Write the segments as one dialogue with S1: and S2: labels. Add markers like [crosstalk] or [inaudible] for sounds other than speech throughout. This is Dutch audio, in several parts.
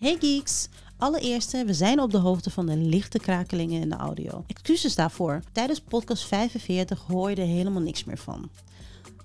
S1: Hey geeks! Allereerst, we zijn op de hoogte van de lichte krakelingen in de audio. Excuses daarvoor. Tijdens podcast 45 hoor je er helemaal niks meer van.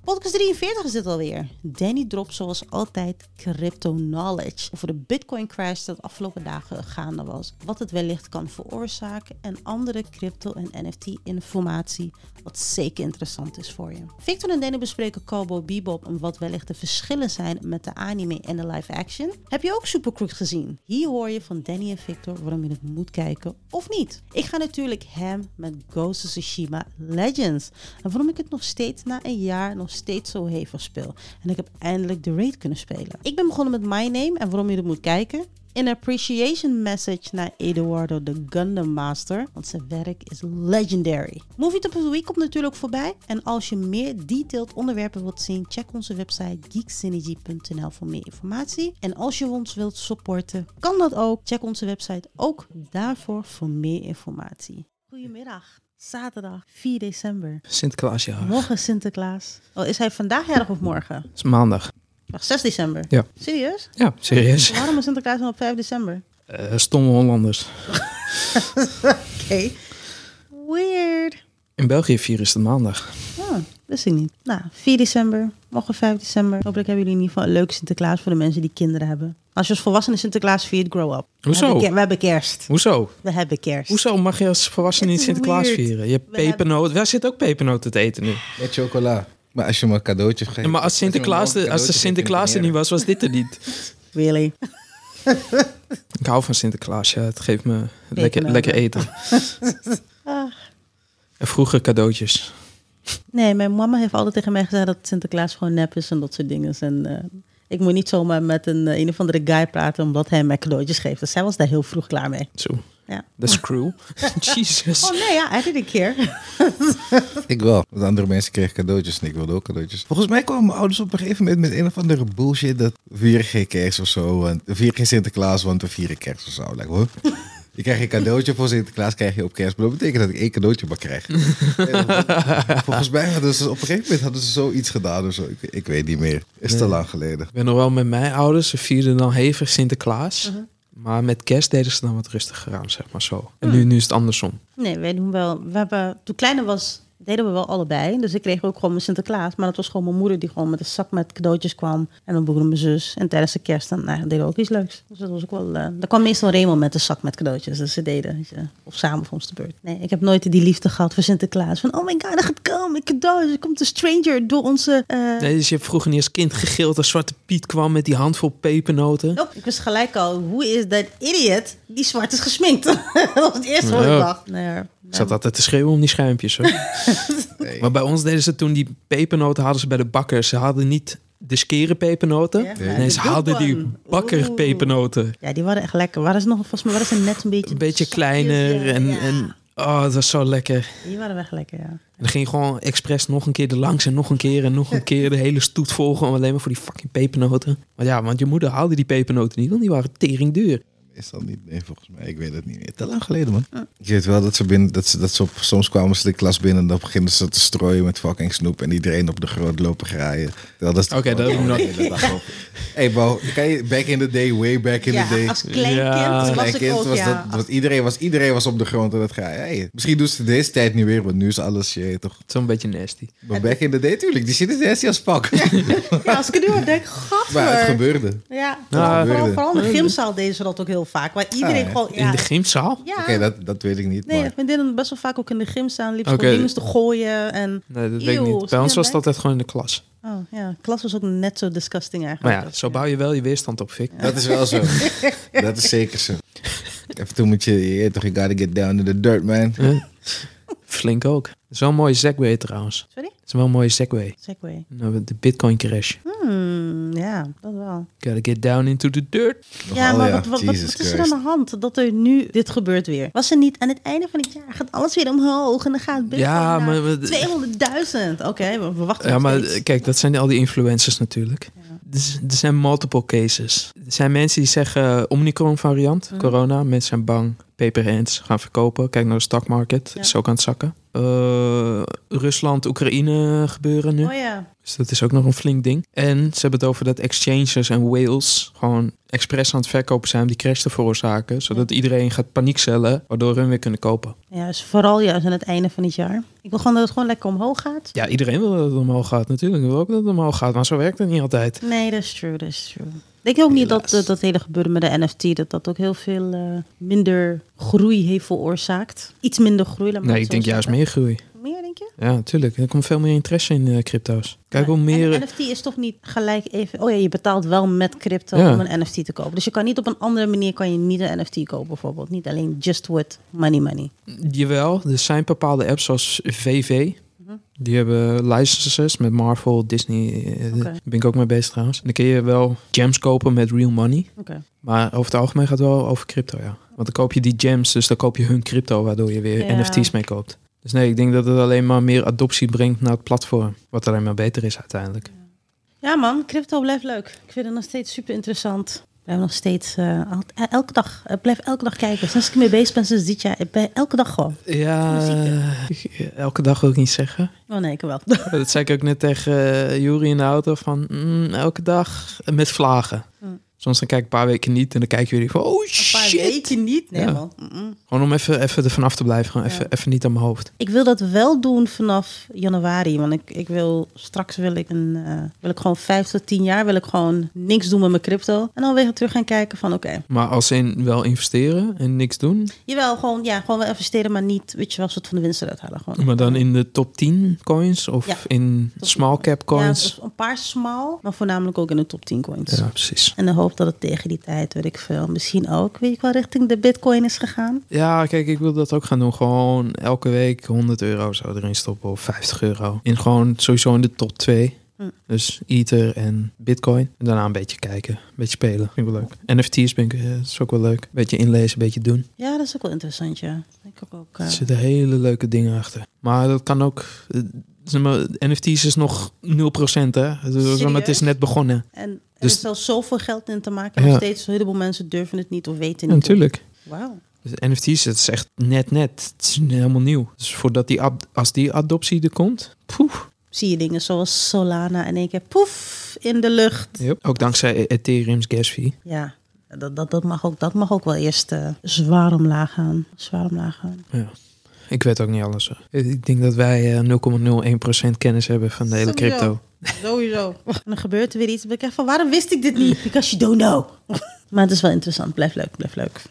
S1: Podcast 43 is dit alweer. Danny dropt zoals altijd crypto knowledge over de bitcoin crash dat de afgelopen dagen gaande was. Wat het wellicht kan veroorzaken en andere crypto en NFT informatie wat zeker interessant is voor je. Victor en Danny bespreken Cowboy Bebop en wat wellicht de verschillen zijn met de anime en de live action. Heb je ook Supercrook gezien? Hier hoor je van Danny en Victor waarom je het moet kijken of niet. Ik ga natuurlijk hem met Ghost of Tsushima Legends en waarom ik het nog steeds na een jaar nog steeds zo hevig speel. En ik heb eindelijk de raid kunnen spelen. Ik ben begonnen met My Name en waarom je het moet kijken. Een appreciation message naar Eduardo de Gundam Master, want zijn werk is legendary. Movie Top of the Week komt natuurlijk voorbij. En als je meer detailed onderwerpen wilt zien, check onze website geeksynergy.nl voor meer informatie. En als je ons wilt supporten, kan dat ook. Check onze website ook daarvoor voor meer informatie. Goedemiddag, zaterdag 4 december.
S2: Sinterklaasjaar. Het
S1: Morgen is Sinterklaas. Oh, is hij vandaag jarig of morgen?
S2: is maandag.
S1: Wacht, 6 december.
S2: Ja.
S1: Serieus?
S2: Ja, serieus.
S1: Waarom is Sinterklaas dan op 5 december?
S2: Eh, stomme Hollanders.
S1: Oké. Weird.
S2: In België vieren ze het maandag.
S1: Oh, wist ik niet. Nou, 4 december, morgen 5 december. Hopelijk hebben jullie in ieder geval een leuke Sinterklaas voor de mensen die kinderen hebben. Als je als volwassene Sinterklaas viert, grow up.
S2: Hoezo?
S1: We hebben, ke- we hebben kerst.
S2: Hoezo?
S1: We hebben kerst.
S2: Hoezo mag je als volwassene
S1: Het
S2: niet
S1: is
S2: Sinterklaas
S1: weird.
S2: vieren? Je hebt
S1: We hebben-
S2: pepernoot. Waar zit ook pepernoten te eten nu?
S3: Met chocola. Maar als je maar cadeautjes geeft.
S2: Ja, maar als, Sinterklaas, de, als de Sinterklaas er niet was, was dit er niet. [laughs]
S1: Really?
S2: Ik hou van Sinterklaas. Ja. Het geeft me lekker,
S1: Pepernoten.
S2: lekker eten.
S1: Ah.
S2: En vroeger cadeautjes.
S1: Nee, mijn mama heeft altijd tegen mij gezegd dat Sinterklaas gewoon nep is en dat soort dingen. En eh, ik moet niet zomaar met een, eh, een of andere guy praten omdat hij mij cadeautjes geeft. Dus zij was daar heel vroeg klaar mee.
S2: Zo,
S1: Ja.
S2: de
S1: [laughs]
S2: screw. Jesus.
S1: Oh nee, ja, I did een keer.
S3: Ik wel. Want andere mensen kregen cadeautjes en ik wilde ook cadeautjes. Volgens mij kwamen mijn ouders op een gegeven moment met een of andere bullshit. Dat we vieren geen kerst of zo. Want we vieren geen Sinterklaas, want we vieren kerst of zo. Like, hoor. [laughs] Je krijgt een cadeautje voor Sinterklaas, krijg je op kerst. Maar dat betekent dat ik één cadeautje maar
S2: [laughs]
S3: krijg. En Volgens mij hadden ze op een gegeven moment hadden ze zoiets gedaan of zo. Ik, ik weet niet meer. Is te lang geleden.
S2: Ik ben nog wel met mijn ouders. Ze vierden dan hevig Sinterklaas.
S1: Uh-huh.
S2: Maar met kerst deden ze dan wat rustiger aan, zeg maar zo. En nu, nu is het andersom.
S1: Nee, wij doen wel. We hebben, toen ik kleiner was, deden we wel allebei. Dus ik kreeg ook gewoon mijn Sinterklaas. Maar dat was gewoon mijn moeder die gewoon met een zak met cadeautjes kwam. En mijn broer en mijn zus. En tijdens de kerst dan nou, deden we ook iets leuks. Dus dat was ook wel. eh er kwam meestal Raymond met een zak met cadeautjes. Dus ze deden. weet je, of samen voor ons de beurt. Nee, ik heb nooit die liefde gehad voor Sinterklaas. Van oh my god, er gaat komen. een cadeau. Er komt een stranger door onze. eh,
S2: Nee, dus je hebt vroeger niet als kind gegild als Zwarte Piet kwam met die handvol pepernoten.
S1: Nope. Ik wist gelijk al, hoe is dat idiot die zwart is gesminkt? [laughs] dat was het eerste wat ik
S2: Ja.
S1: dacht. Nee, hoor.
S2: Ik zat altijd te schreeuwen om die
S1: [laughs]
S2: schuimpjes. Hoor.
S3: Nee.
S2: Maar bij ons deden ze toen die pepernoten hadden ze bij de bakker. Ze hadden niet de skere pepernoten.
S1: Ja,
S2: Nee,
S1: de
S2: ze
S1: good
S2: hadden die
S1: one.
S2: bakker
S1: Oeh.
S2: pepernoten.
S1: Ja, die waren echt lekker. Waren ze nog, volgens mij waren ze net een beetje...
S2: Een beetje
S1: zachtjes,
S2: kleiner
S1: ja.
S2: en,
S1: Ja,
S2: en oh, dat was zo lekker.
S1: Die waren echt lekker, ja.
S2: En dan ging je gewoon expres nog een keer er langs en nog een keer en nog een keer de hele stoet volgen. Alleen maar voor die fucking pepernoten. Maar ja, want je moeder haalde die pepernoten niet, want die waren tering duur.
S3: Is dat niet? Nee, volgens mij. Ik weet het niet meer. Te lang geleden, man. Ik weet wel dat ze, binnen, dat ze, dat ze op, soms kwamen ze de klas binnen en dan beginnen ze te strooien met fucking snoep en iedereen op de grond lopen graaien. Dat is Oh,
S2: Oké, dat heb ik nog-
S3: [laughs] Hé, Bo, kan je back in the day, way back in
S1: ja,
S3: the day.
S1: als klein
S2: Ja.
S1: kind
S3: Als
S1: was
S3: klein
S1: ik
S3: kind
S1: ook,
S3: was
S1: ja.
S3: dat, want iedereen was, iedereen was op de grond en dat graaien. Hey, misschien doen ze deze tijd niet meer, want nu is alles, je weet toch.
S2: Zo'n beetje nasty.
S3: Maar back in the day, tuurlijk, die shit is nasty als pak.
S1: Ja, als ik het nu aan denk,
S3: [laughs] maar het
S1: gadver.
S3: gebeurde.
S1: Ja,
S2: Ja.
S1: vooral, vooral in de gymzaal deden ze dat ook heel vaak. Waar iedereen
S3: Ah,
S1: gewoon... Ja,
S2: In de gymzaal?
S1: ja.
S3: Oké, dat, dat weet ik niet,
S1: Nee,
S3: maar...
S1: mijn vriendinnen best wel vaak ook in de gym staan. Liep ze
S2: Oké.
S1: gewoon dingen te gooien en...
S2: Nee, dat weet
S1: Eeuw,
S2: ik niet. Bij
S1: zie
S2: ons
S1: je
S2: was
S1: mij?
S2: dat altijd gewoon in de klas.
S1: Oh ja, klas was ook net zo disgusting
S2: Maar
S1: eigenlijk.
S2: ja, zo bouw je wel je weerstand op, Fik.
S3: Dat is
S1: [laughs]
S3: wel zo. dat is zeker zo. Even toen moet je, je weet toch, you gotta get down to the dirt, man.
S2: Huh? Flink ook. Dat is wel een mooie segue trouwens.
S1: Sorry?
S2: Dat is wel een mooie segue.
S1: Segway.
S2: Nou, de bitcoin crash.
S1: Hmm, ja, dat wel.
S2: Gotta get down into the dirt.
S1: Ja,
S3: Oh
S1: maar wat, wat, wat,
S3: Jesus
S1: wat is er
S3: Christ.
S1: aan de hand dat er nu dit gebeurt weer? Was er niet aan het einde van het jaar gaat alles weer omhoog en dan gaat Bitcoin
S2: Ja,
S1: naar
S2: maar- maar-
S1: 200.000. Oké, we, we wachten
S2: Ja,
S1: nog
S2: maar
S1: steeds.
S2: kijk, dat zijn al die influencers natuurlijk. Er z- Er zijn multiple cases. Er zijn mensen die zeggen eh, Omicron
S1: Mhm.
S2: variant, corona. Mensen zijn bang. Paper hands gaan verkopen. Kijk naar de stock market.
S1: Ja.
S2: Is ook aan het zakken. eh, Rusland-Oekraïne gebeuren nu.
S1: Oh ja.
S2: Dus dat is ook nog een flink ding. En ze hebben het over dat exchanges en whales gewoon expres aan het verkopen zijn om die crash te veroorzaken. Zodat iedereen gaat paniekcellen, waardoor hun weer kunnen kopen.
S1: Ja, dus vooral juist aan het einde van dit jaar. Ik wil gewoon dat het gewoon lekker omhoog gaat.
S2: Ja, iedereen wil dat het omhoog gaat natuurlijk. Ik wil ook dat het omhoog gaat, maar zo werkt het niet altijd.
S1: Nee, dat is true, dat is true. Ik denk ook niet dat eh, dat hele gebeuren met de NFT, dat dat ook heel veel eh, minder groei heeft veroorzaakt. Iets minder groei, laat maar
S2: Nee,
S1: het
S2: ik
S1: zo
S2: denk juist
S1: zeggen.
S2: meer groei.
S1: Meer, denk je?
S2: Ja, natuurlijk. Er komt veel meer interesse in eh, crypto's. Kijk, hoe
S1: En
S2: meer...
S1: een NFT is toch niet gelijk even... Oh ja, je betaalt wel met crypto
S2: Ja.
S1: om een NFT te kopen. Dus je kan niet op een andere manier kan je niet een NFT kopen bijvoorbeeld. Niet alleen just with money money.
S2: Jawel, er zijn bepaalde apps zoals VV.
S1: Mhm.
S2: Die hebben licenses met Marvel, Disney. eh,
S1: Oké.
S2: Daar ben ik ook mee bezig trouwens. En dan kun je wel gems kopen met real money.
S1: Oké.
S2: Maar over het algemeen gaat het wel over crypto, ja. Want dan koop je die gems, dus dan koop je hun crypto, waardoor je weer
S1: Ja.
S2: NFT's mee koopt. Dus nee, ik denk dat het alleen maar meer adoptie brengt naar het platform. Wat alleen maar beter is uiteindelijk.
S1: Ja man, crypto blijft leuk. Ik vind het nog steeds super interessant. Ik blijf nog steeds... eh, al- eh, elke dag. Ik blijf elke dag kijken. Sinds ik mee bezig ben sinds dit jaar. Ik ben elke dag gewoon.
S2: Ja, ik- elke dag wil ik niet zeggen.
S1: Oh nee, ik wel. [laughs]
S2: Dat zei ik ook net tegen eh, Juri in de auto van mm, elke dag met vlagen.
S1: Mm.
S2: Soms dan kijk ik een paar weken niet en dan kijken jullie van oh
S1: Een paar
S2: shit.
S1: weken niet. Nee
S2: Ja.
S1: man. Mm-mm.
S2: Gewoon om even, even er vanaf te blijven, gewoon
S1: Ja.
S2: even, even niet aan mijn hoofd.
S1: Ik wil dat wel doen vanaf januari. Want ik, ik wil straks wil ik een eh, wil ik gewoon vijf tot tien jaar wil ik gewoon niks doen met mijn crypto. En dan weer terug gaan kijken van oké.
S2: Maar als in wel investeren en niks doen,
S1: Jawel, gewoon ja, gewoon wel investeren, maar niet weet je wel soort van de winst eruit halen. Gewoon.
S2: maar dan in de top 10 coins of
S1: Ja.
S2: in small cap coins.
S1: Ja, een paar smal, maar voornamelijk ook in de top 10 coins.
S2: Ja, precies.
S1: En dan hoop dat het tegen die tijd, weet ik veel, misschien ook, weet ik wel, richting de bitcoin is gegaan.
S2: Ja, kijk, ik wil dat ook gaan doen. Gewoon elke week 100 euro zou erin stoppen of 50 euro. In gewoon sowieso in de top 2.
S1: Hm.
S2: Dus Ether en Bitcoin. En daarna een beetje kijken, een beetje spelen. Vind ik wel leuk. NFT's ben ik, eh, is ook wel leuk. Beetje inlezen, een beetje doen.
S1: Ja, dat is ook wel interessant, ja. Ik ook, ook eh,
S2: Er zitten hele leuke dingen achter. Maar dat kan ook... eh, zeg maar, NFT's is nog 0% hè. Dus, maar het
S1: Serieus?
S2: is net begonnen.
S1: en er
S2: dus-
S1: is wel zoveel geld in te maken. en Nog
S2: Ja.
S1: steeds, een heleboel mensen durven het niet of weten
S2: Ja,
S1: niet.
S2: natuurlijk.
S1: Wauw.
S2: Dus NFT's, dat is echt net net. Het is helemaal nieuw. Dus voordat die, ad- als die adoptie er komt... Poef.
S1: zie je dingen zoals Solana in één keer poef in de lucht.
S2: Yep. Ook dankzij E- Ethereum's gas fee.
S1: Ja, dat, dat, dat, mag, ook, dat mag ook wel eerst eh, zwaar omlaag gaan. Zwaar omlaag gaan.
S2: Ik weet ook niet alles. hoor. Ik denk dat wij eh, 0,01% kennis hebben van de hele
S1: Sowieso.
S2: crypto.
S1: Sowieso. En dan gebeurt er weer iets. Dan ben ik echt van, waarom wist ik dit niet? Because you don't know. [laughs] Maar het is wel interessant. Blijf leuk, blijf leuk.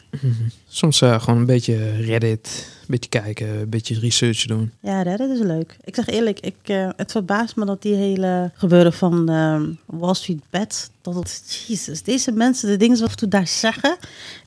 S2: Soms eh, gewoon een beetje Reddit, een beetje kijken, een beetje research doen.
S1: Ja, Reddit is leuk. Ik zeg eerlijk, ik, eh, het verbaast me dat die hele gebeuren van ehm, Wall Street Bets, dat het, jezus, deze mensen de dingen wat toe daar zeggen,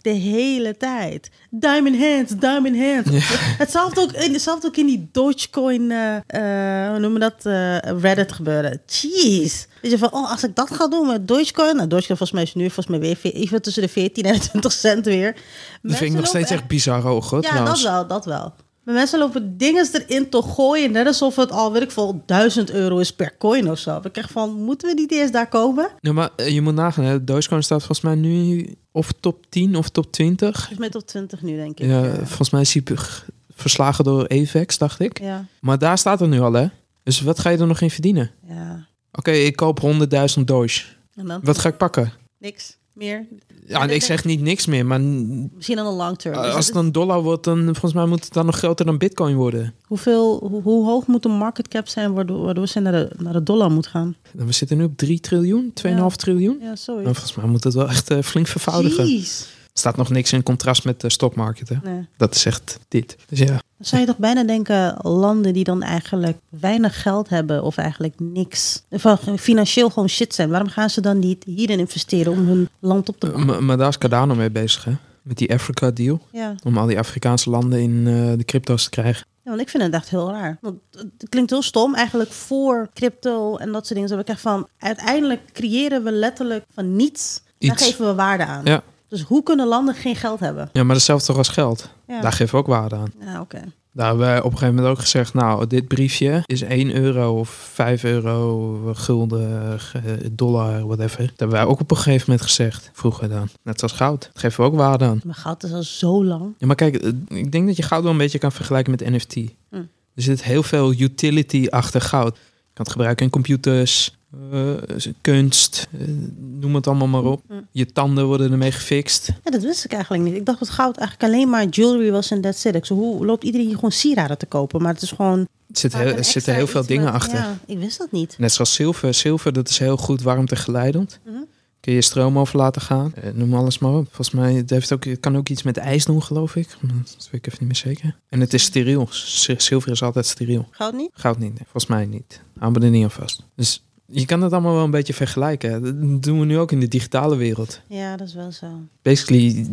S1: de hele tijd. Diamond hands, diamond hands. Hetzelfde, ook in, hetzelfde ook in die Dogecoin, eh, eh, hoe noemen we dat, eh, Reddit gebeuren. Jeez. Weet je van, oh, als ik dat ga doen met Dogecoin, nou Dogecoin volgens mij is nu volgens mij weer ve- even tussen de 14 en de 20 cent weer.
S2: Dat vind ik nog steeds echt bizar hoog hoor,
S1: Ja,
S2: trouwens.
S1: dat wel, dat wel. Maar mensen lopen dingen erin te gooien, net alsof het al, weet ik veel, 1000 euro is per coin of zo. Ik krijg van, moeten we niet eerst daar komen?
S2: Nee, maar eh, je moet nagaan, hè. Dogecoin staat volgens mij nu of top 10 of top 20.
S1: Volgens mij tot 20 nu, denk ik.
S2: Ja,
S1: Eh,
S2: volgens mij is hij beg- verslagen door AVEX, dacht ik.
S1: ja,
S2: Maar daar staat het nu al, hè. Dus wat ga je er nog in verdienen?
S1: ja.
S2: Oké, ik koop 100.000 Doge.
S1: En dan
S2: Wat ga ik pakken?
S1: niks meer.
S2: Ja, en ik zeg niet niks meer, maar n-
S1: Misschien dan een long term. Dus
S2: Ah, als
S1: het
S2: het
S1: is-
S2: een dollar wordt, dan volgens mij moet het dan nog groter dan bitcoin worden.
S1: hoeveel, hoe, hoe hoog moet de market cap zijn waardoor, waardoor ze naar de, naar de dollar moet gaan?
S2: We zitten nu op 3 triljoen, 2,5 triljoen.
S1: Ja,
S2: Nou,
S1: sorry.
S2: volgens mij moet het wel echt eh, flink vervoudigen.
S1: Jeez.
S2: Staat nog niks in contrast met de stockmarket. Hè?
S1: Nee.
S2: Dat is echt dit. Dus ja,
S1: Dan zou je toch bijna denken, landen die dan eigenlijk weinig geld hebben of eigenlijk niks, van financieel gewoon shit zijn, waarom gaan ze dan niet hierin investeren om hun land op te bouwen?
S2: maar, maar daar is Cardano mee bezig, hè? Met die Africa deal.
S1: Ja.
S2: Om al die Afrikaanse landen in eh, de crypto's te krijgen.
S1: ja, want ik vind het echt heel raar. Want het klinkt heel stom, eigenlijk voor crypto en dat soort dingen. Zo heb ik echt van, uiteindelijk creëren we letterlijk van niets, daar
S2: Iets.
S1: geven we waarde aan.
S2: Ja.
S1: Dus hoe kunnen landen geen geld hebben?
S2: Ja, maar dat is zelfs toch als geld.
S1: Ja,
S2: Daar geven we ook waarde aan.
S1: ja oké.
S2: Daar hebben wij op een gegeven moment ook gezegd, nou, dit briefje is 1 euro of 5 euro, gulden, ge- dollar, whatever. Dat hebben wij ook op een gegeven moment gezegd, vroeger dan. Net als goud. Dat geven we ook waarde aan.
S1: Maar goud is al zo lang.
S2: Ja, maar kijk, eh, ik denk dat je goud wel een beetje kan vergelijken met NFT.
S1: Hm.
S2: Er zit heel veel utility achter goud. Je kan het gebruiken in computers, eh, kunst, eh, noem het allemaal maar op.
S1: Hm.
S2: Je tanden worden ermee gefixt.
S1: Ja, dat wist ik eigenlijk niet. Ik dacht dat goud eigenlijk alleen maar jewelry was en that's it. Ik zei, hoe loopt iedereen hier gewoon sieraden te kopen? Maar het is gewoon...
S2: Er zitten
S1: vaak
S2: heel,
S1: een
S2: er
S1: extra
S2: zitten heel veel
S1: iets
S2: dingen
S1: wat-
S2: achter.
S1: Ja, ik wist dat niet.
S2: Net zoals zilver. Zilver, dat is heel goed warmtegeleidend.
S1: Mhm.
S2: Kun je stroom over laten gaan. Eh, noem alles maar op. Volgens mij het heeft ook, het kan ook iets met ijs doen, geloof ik. Maar Dat weet ik even niet meer zeker. En het is steriel. Z- Zilver is altijd steriel.
S1: Goud niet?
S2: Goud niet, nee. volgens mij niet. Hou me er niet aan vast. Dus je kan het allemaal wel een beetje vergelijken. Dat doen we nu ook in de digitale wereld.
S1: Ja, dat is wel zo.
S2: Basically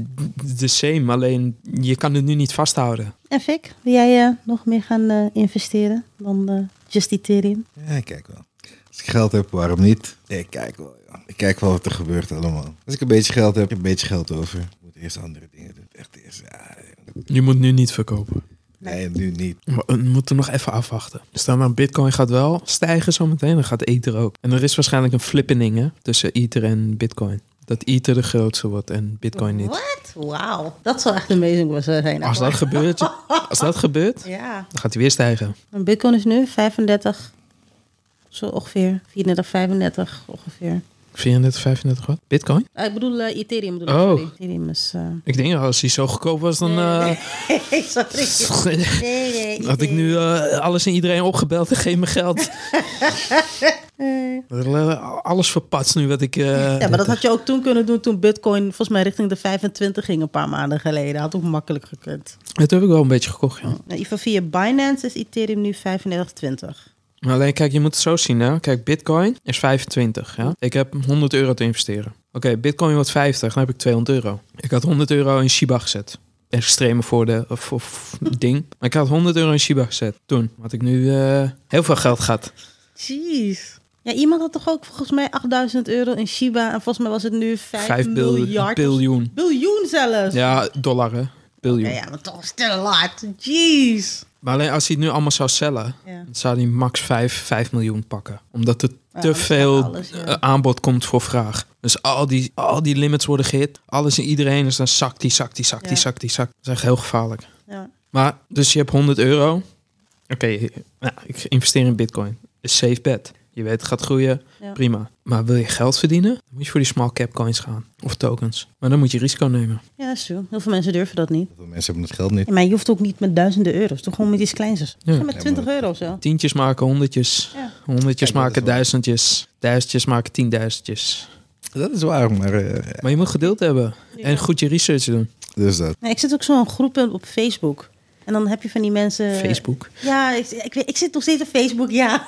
S2: the same, alleen je kan het nu niet vasthouden.
S1: En Fik, wil jij eh, nog meer gaan eh, investeren dan eh Just Ethereum?
S3: Ja, ik kijk wel. Als ik geld heb, waarom niet? Ik kijk wel, ja. Ik kijk wel wat er gebeurt allemaal. Als ik een beetje geld heb, heb ik een beetje geld over. Ik moet eerst andere dingen doen. Echt eerst, ja.
S2: Je moet nu niet verkopen.
S3: Nee, nu niet.
S2: Maar We moeten nog even afwachten. Stel nou, bitcoin gaat wel stijgen zometeen, dan gaat ether ook. En er is waarschijnlijk een flippening hè, tussen ether en bitcoin. Dat ether de grootste wordt en bitcoin niet.
S1: Wat? Wauw. Dat zou echt amazing zijn.
S2: Als dat gebeurt, als dat gebeurt,
S1: Ja.
S2: dan gaat hij weer stijgen.
S1: Een bitcoin is nu 35, zo ongeveer. 34, 35 ongeveer.
S2: 34, 35 wat? Bitcoin?
S1: Ah, ik bedoel eh, Ethereum. Bedoel ik,
S2: Oh.
S1: sorry. Ethereum is... [laughs] eh,
S2: Ik denk, als hij zo goedkoop was, dan eh,
S1: sorry.
S2: [laughs]
S1: Nee, nee.
S2: had ik nu eh, alles en iedereen opgebeld en geef me
S1: [laughs]
S2: geld. Eh, alles verpatst nu wat ik... eh,
S1: Ja, maar dat had je ook toen kunnen doen toen bitcoin volgens mij richting de 25 ging een paar maanden geleden. Had ook makkelijk gekund.
S2: dat heb ik wel een beetje gekocht, ja.
S1: Nou, in ieder geval via Binance is Ethereum nu 35,20.
S2: Maar alleen, kijk, je moet het zo zien, hè. Kijk, bitcoin is 25, ja. Ik heb 100 euro te investeren. Oké, bitcoin wordt 50, dan heb ik 200 euro. Ik had 100 euro in Shiba gezet. Extreme voordeel of, of ding. Maar ik had 100 euro in Shiba gezet toen. Had ik nu eh, heel veel geld gehad.
S1: Jeez. Ja, iemand had toch ook volgens mij 8000 euro in Shiba en volgens mij was het nu 5,
S2: 5 bil-
S1: miljard.
S2: biljoen.
S1: Biljoen zelfs.
S2: Ja, dollar, hè. Biljoen.
S1: Ja, ja, maar toch still a lot. Jeez.
S2: Maar alleen als hij het nu allemaal zou cellen,
S1: Ja.
S2: dan zou hij max 5, 5 miljoen pakken. Omdat er
S1: Ja,
S2: te
S1: dat is
S2: veel
S1: alles, ja.
S2: eh, aanbod komt voor vraag. Dus al die, al die limits worden gehit. Alles en iedereen. Dus dan zakt die, zakt die, zakt die,
S1: Ja.
S2: zakt die, zakt. Dat is echt heel gevaarlijk.
S1: Ja.
S2: Maar, dus je hebt 100 euro. Oké, nou, ik investeer in bitcoin. Is safe bet. Je weet het gaat groeien,
S1: Ja.
S2: prima. Maar wil je geld verdienen, dan moet je voor die small cap coins gaan. Of tokens. Maar dan moet je risico nemen.
S1: ja, dat is zo. Heel veel mensen durven dat niet.
S3: Veel mensen hebben het geld niet.
S1: Ja, maar je hoeft ook niet met duizenden euro's, toch gewoon met iets kleins.
S2: Ja.
S1: Met 20 euro of zo.
S2: Tientjes maken honderdjes.
S1: Ja.
S2: Honderdjes
S3: Kijk, dat
S2: maken
S3: is wel-
S2: duizendjes. Duizendjes maken tienduizendjes.
S3: Dat is waar, maar... eh, ja,
S2: Maar je moet geduld hebben. En goed je research doen.
S3: dus dat.
S1: Nee, ik zit ook zo'n groep in- op Facebook. En dan heb je van die mensen...
S2: Facebook.
S1: Ja, ik, ik, weet- ik zit nog steeds op Facebook, ja.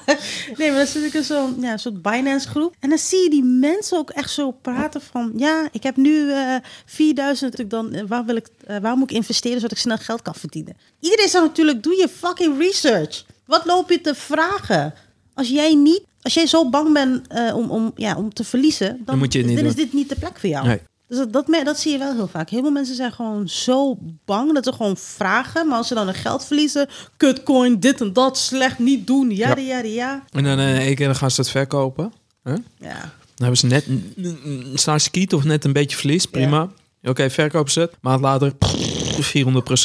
S1: Nee, maar dan zit ik in zo'n ja, soort Binance-groep. En dan zie je die mensen ook echt zo praten van... Ja, ik heb nu eh 4000, ik dan, eh, waar, wil ik, eh, waar moet ik investeren zodat ik snel geld kan verdienen? Iedereen zegt natuurlijk, doe je fucking research. Wat loop je te vragen? Als jij niet... Als jij zo bang bent eh, om, om, ja, om te verliezen, dan,
S2: Dan moet je het niet
S1: dan is
S2: doen.
S1: dit niet de plek voor jou.
S2: Nee.
S1: Dus dat, dat, mer- dat zie je wel heel vaak. Heel veel mensen zijn gewoon zo bang dat ze gewoon vragen. Maar als ze dan hun geld verliezen, kutcoin, dit en dat, slecht, niet doen, ja, ja, ja.
S2: En dan eh één keer dan gaan ze het verkopen. Huh?
S1: Ja,
S2: Dan hebben ze net n- n- n- staan skiet of net een beetje verlies. Prima. Oké, verkopen ze het. Maand later 400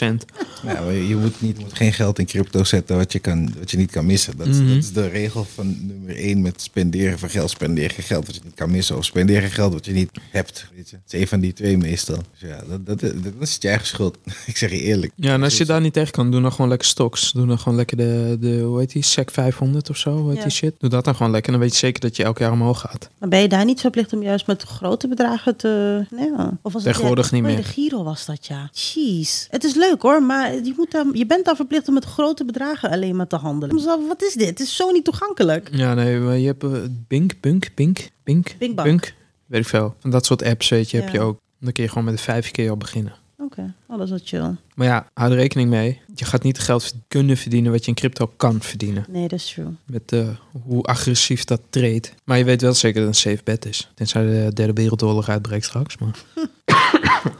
S3: Ja, maar je moet, niet, je moet geen geld in crypto zetten wat je, kan, wat je niet kan missen. Dat, is- dat is de regel van nummer één met spenderen van geld. Spenderen geen geld wat je niet kan missen. Of spenderen geld wat je niet hebt. Weet je. Het is een van die twee meestal. Dus ja, dat, dat, dat is je eigen schuld. [laughs] Ik zeg je eerlijk.
S2: Ja, en als je daar niet tegen kan, doe dan gewoon lekker stocks. Doe dan gewoon lekker de, de hoe heet die, SEC 500 of zo, hoe heet
S1: Ja.
S2: die shit. Doe dat dan gewoon lekker. Dan weet je zeker dat je elk jaar omhoog gaat.
S1: maar ben je daar niet verplicht om juist met grote bedragen te... Nee, ja. of was
S2: Tegenwoordig
S1: ja,
S2: niet
S1: oh,
S2: meer.
S1: De Giro was dat, ja. Jeez. Het is leuk hoor, maar je, moet daar, je bent daar verplicht om met grote bedragen alleen maar te handelen. Ik dacht, Wat is dit? Het is zo niet toegankelijk.
S2: Ja, nee, maar je hebt eh, Bink, Bunk, Bink, Bink,
S1: Binkbank.
S2: Weet ik veel. Van dat soort apps, weet je, heb
S1: Ja.
S2: je ook. Dan kun je gewoon met de vijf keer al beginnen.
S1: Oké, oh, dat is wel chill.
S2: Maar ja, hou er rekening mee. Je gaat niet het geld verd- kunnen verdienen wat je in crypto kan verdienen.
S1: Nee, dat is true.
S2: Met eh, hoe agressief dat treedt. Maar je weet wel zeker dat het een safe bet is. Tenzij de derde wereldoorlog uitbreekt straks. Maar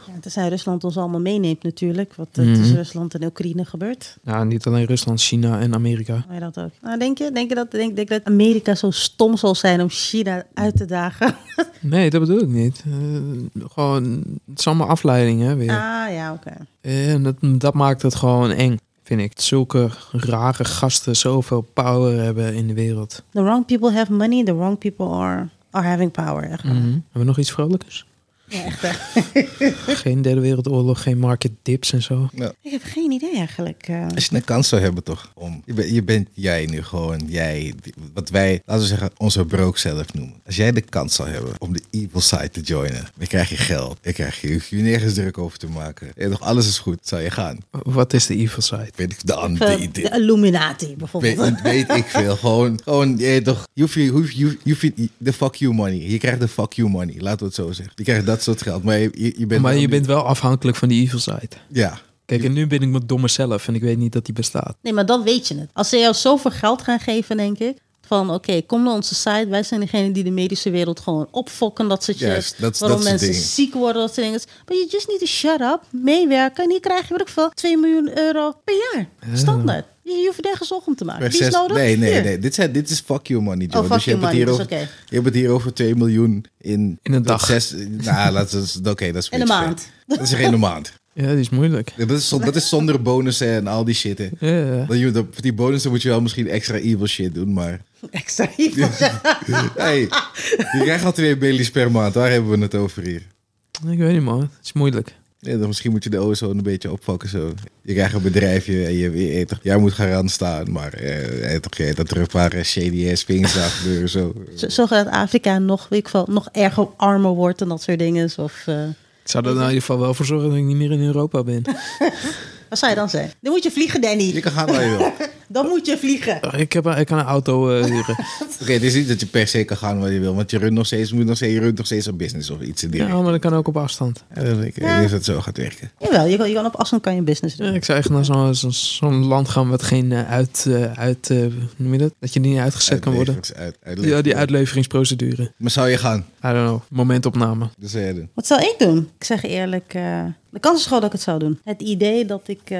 S1: Ja, tenzij Rusland ons allemaal meeneemt natuurlijk. Wat er
S2: Mhm.
S1: tussen Rusland en Oekraïne gebeurt.
S2: ja, niet alleen Rusland, China en Amerika.
S1: Hoor je dat ook? Nou, denk je, denk je dat, denk, denk dat Amerika zo stom zal zijn om China uit te dagen?
S2: Nee, dat bedoel ik niet. Eh, gewoon, het is allemaal afleiding hè, weer.
S1: [laughs] Ah ja, oké.
S2: En dat, dat maakt het gewoon eng. Vind ik. Zulke rare gasten zoveel power hebben in de wereld.
S1: The wrong people have money, the wrong people are, are having power. Echt. waar.
S2: Hebben we nog iets vrolijkers?
S1: Ja, echt waar.
S2: Geen derde wereldoorlog, geen market dips en zo.
S1: Ik heb geen idee eigenlijk. eh.
S3: Als je een kans zou hebben toch om... Je, bent- je bent jij nu gewoon, jij... die- Wat wij, laten we zeggen, onze broek zelf noemen. Als jij de kans zou hebben om de evil side te joinen. Dan krijg je geld. Dan krijg je, je hoeft je nergens druk over te maken. En nog alles is goed, zou je gaan.
S2: Wat is de evil side?
S3: Weet ik de andere
S1: Eh,
S3: idee.
S1: de Illuminati bijvoorbeeld.
S3: Weet, weet ik
S1: [laughs]
S3: veel. Gewoon, gewoon je weet toch, je hoeft je, hoef, je, hoeft- je hoeft de fuck you money. Je krijgt de fuck you money, laten we het zo zeggen. Je krijgt dat soort geld, maar je, je, je bent...
S2: Maar
S3: wel
S2: je
S3: niet-
S2: bent wel afhankelijk van die evil side.
S3: Ja.
S2: Kijk, en nu ben ik mijn domme zelf en ik weet niet dat die bestaat.
S1: Nee, maar dan weet je het. Als ze jou zoveel geld gaan geven, denk ik. Van oké, kom naar onze site. Wij zijn degene die de medische wereld gewoon opfokken. Dat soort shit.
S3: Juist, dat is-
S1: Waarom
S3: dat is het
S1: mensen
S3: ding.
S1: ziek worden, dat soort dingen. But you just need to shut up, meewerken. En hier krijg je, weet ik veel, 2 miljoen euro per jaar. Standaard. Je, je hoeft nergens zorg om te maken. Ah, Die is
S3: Zes-
S1: nodig.
S3: nee, nee,
S1: Hier. [laughs]
S3: nee. Dit, zijn, dit is fuck you money, Joe.
S1: fuck you
S3: je hebt het
S1: money,
S3: hier
S1: dus
S3: over-
S1: oké.
S3: Je hebt het hier over 2 miljoen in...
S2: In een dag.
S3: Zes, nou, laten we- oké, dat
S1: [laughs]
S3: is
S1: In een
S3: beetje
S1: maand.
S3: ver. Dat is geen maand.
S2: Ja, die is moeilijk.
S3: Dat is, zon- dat is zonder bonussen en al die shit. hè.
S2: Ja, ja, ja.
S3: Dat je- dat- Voor die bonussen moet je wel misschien extra evil shit doen, maar...
S1: Extra evil.
S3: [laughs] Hey, je krijgt al twee bailies per maand. Waar hebben we het over hier?
S2: Ik weet niet, man. Het is moeilijk.
S3: Ja, dan misschien moet je de ozone een beetje oppakken. Zo. Je krijgt een bedrijfje en je, je, je, toch- jij moet gaan eraan staan. Maar eh, eh, toch, eh, dat er een paar eh, shady ass things aan [laughs] gebeuren. Zo.
S1: Z- Zorgen dat Afrika nog, weet ik veel, nog erger armer wordt en dat soort dingen. Of, eh,
S2: Ik zou er in ieder geval wel voor zorgen dat ik niet meer in Europa [laughs] ben.
S1: wat zou je dan zeggen? Dan moet je vliegen,
S3: Je
S1: Danny.
S3: kan gaan waar
S2: [laughs]
S3: je wil. Oké,
S1: Dan moet je vliegen.
S2: Ik, heb, ik kan een auto [laughs] eh, huren.
S3: het is niet dat je per se kan gaan waar je wil. Want je runt nog steeds, moet nog steeds, je runt nog steeds een business of iets in die
S2: Ja,
S3: richting.
S2: maar dat kan ook op afstand.
S3: En dan denk ik, eh, is dat zo gaat werken.
S1: Jawel, je kan, je kan op afstand kan je business doen.
S2: Ja, ik zou echt naar zo'n zo'n- zo'n land gaan wat geen eh, uit... eh, uit eh, hoe noem je dat? Dat je niet uitgezet kan worden.
S3: Uitleverings- uit- uitleverings-
S2: Ja, die uitleveringsprocedure. I
S3: Maar zou je gaan?
S2: don't know. Momentopname.
S3: Dus zei je dan.
S1: Wat zou ik doen? Ik zeg eerlijk, eh, de kans is groot dat ik het zou doen. Het idee dat ik eh,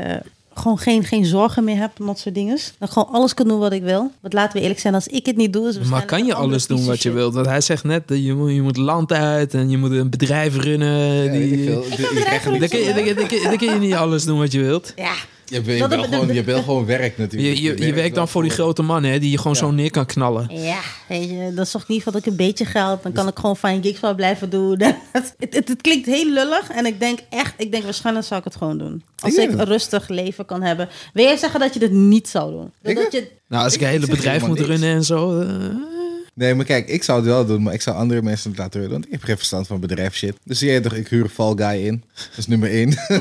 S1: gewoon geen, geen zorgen meer heb en dat soort dingen. Dat ik gewoon alles kan doen wat ik wil. Want laten we eerlijk zijn, als ik het niet doe... Dus Is het
S2: Maar
S1: waarschijnlijk
S2: kan je
S1: een andere
S2: alles doen
S1: piece of
S2: wat je
S1: shit.
S2: wilt? Want hij zegt net dat je moet, je moet land uit en je moet een bedrijf runnen.
S3: Ja,
S2: die-
S3: weet ik veel.
S1: Ik
S2: [laughs]
S3: Je
S1: ga bedrijven
S3: krijgt een
S2: dan, kun je, dan kun je- dan kun je- dan kun je niet alles doen wat je wilt.
S1: Ja,
S3: Je wil je
S1: Dat-
S3: wil
S1: dat-
S3: gewoon-
S1: dat-
S3: je wil gewoon werk natuurlijk.
S2: Je, je, je werkt dan voor die grote man hè, die je gewoon zo neer kan knallen.
S1: ja, weet je, dan zorg ik in ieder geval dat ik een beetje geld... dan kan ik gewoon fijn gigs wel blijven doen. [laughs] het, het, het klinkt heel lullig en ik denk echt... ik denk waarschijnlijk zou ik het gewoon doen. Als
S3: denk
S1: ik
S3: het.
S1: een rustig leven kan hebben. Wil jij zeggen dat je dit niet zou doen?
S3: Ik-
S1: Dat je...
S2: Nou, als ik
S3: Ik
S2: een hele
S3: zeg
S2: bedrijf
S3: helemaal
S2: moet
S3: niks.
S2: runnen en zo. eh,
S3: Nee, maar kijk, ik zou het wel doen, maar ik zou andere mensen het laten doen. Want ik heb geen verstand van bedrijfshit. Dus jij toch, ik huur Fall Guy in. Dat is nummer één. [laughs]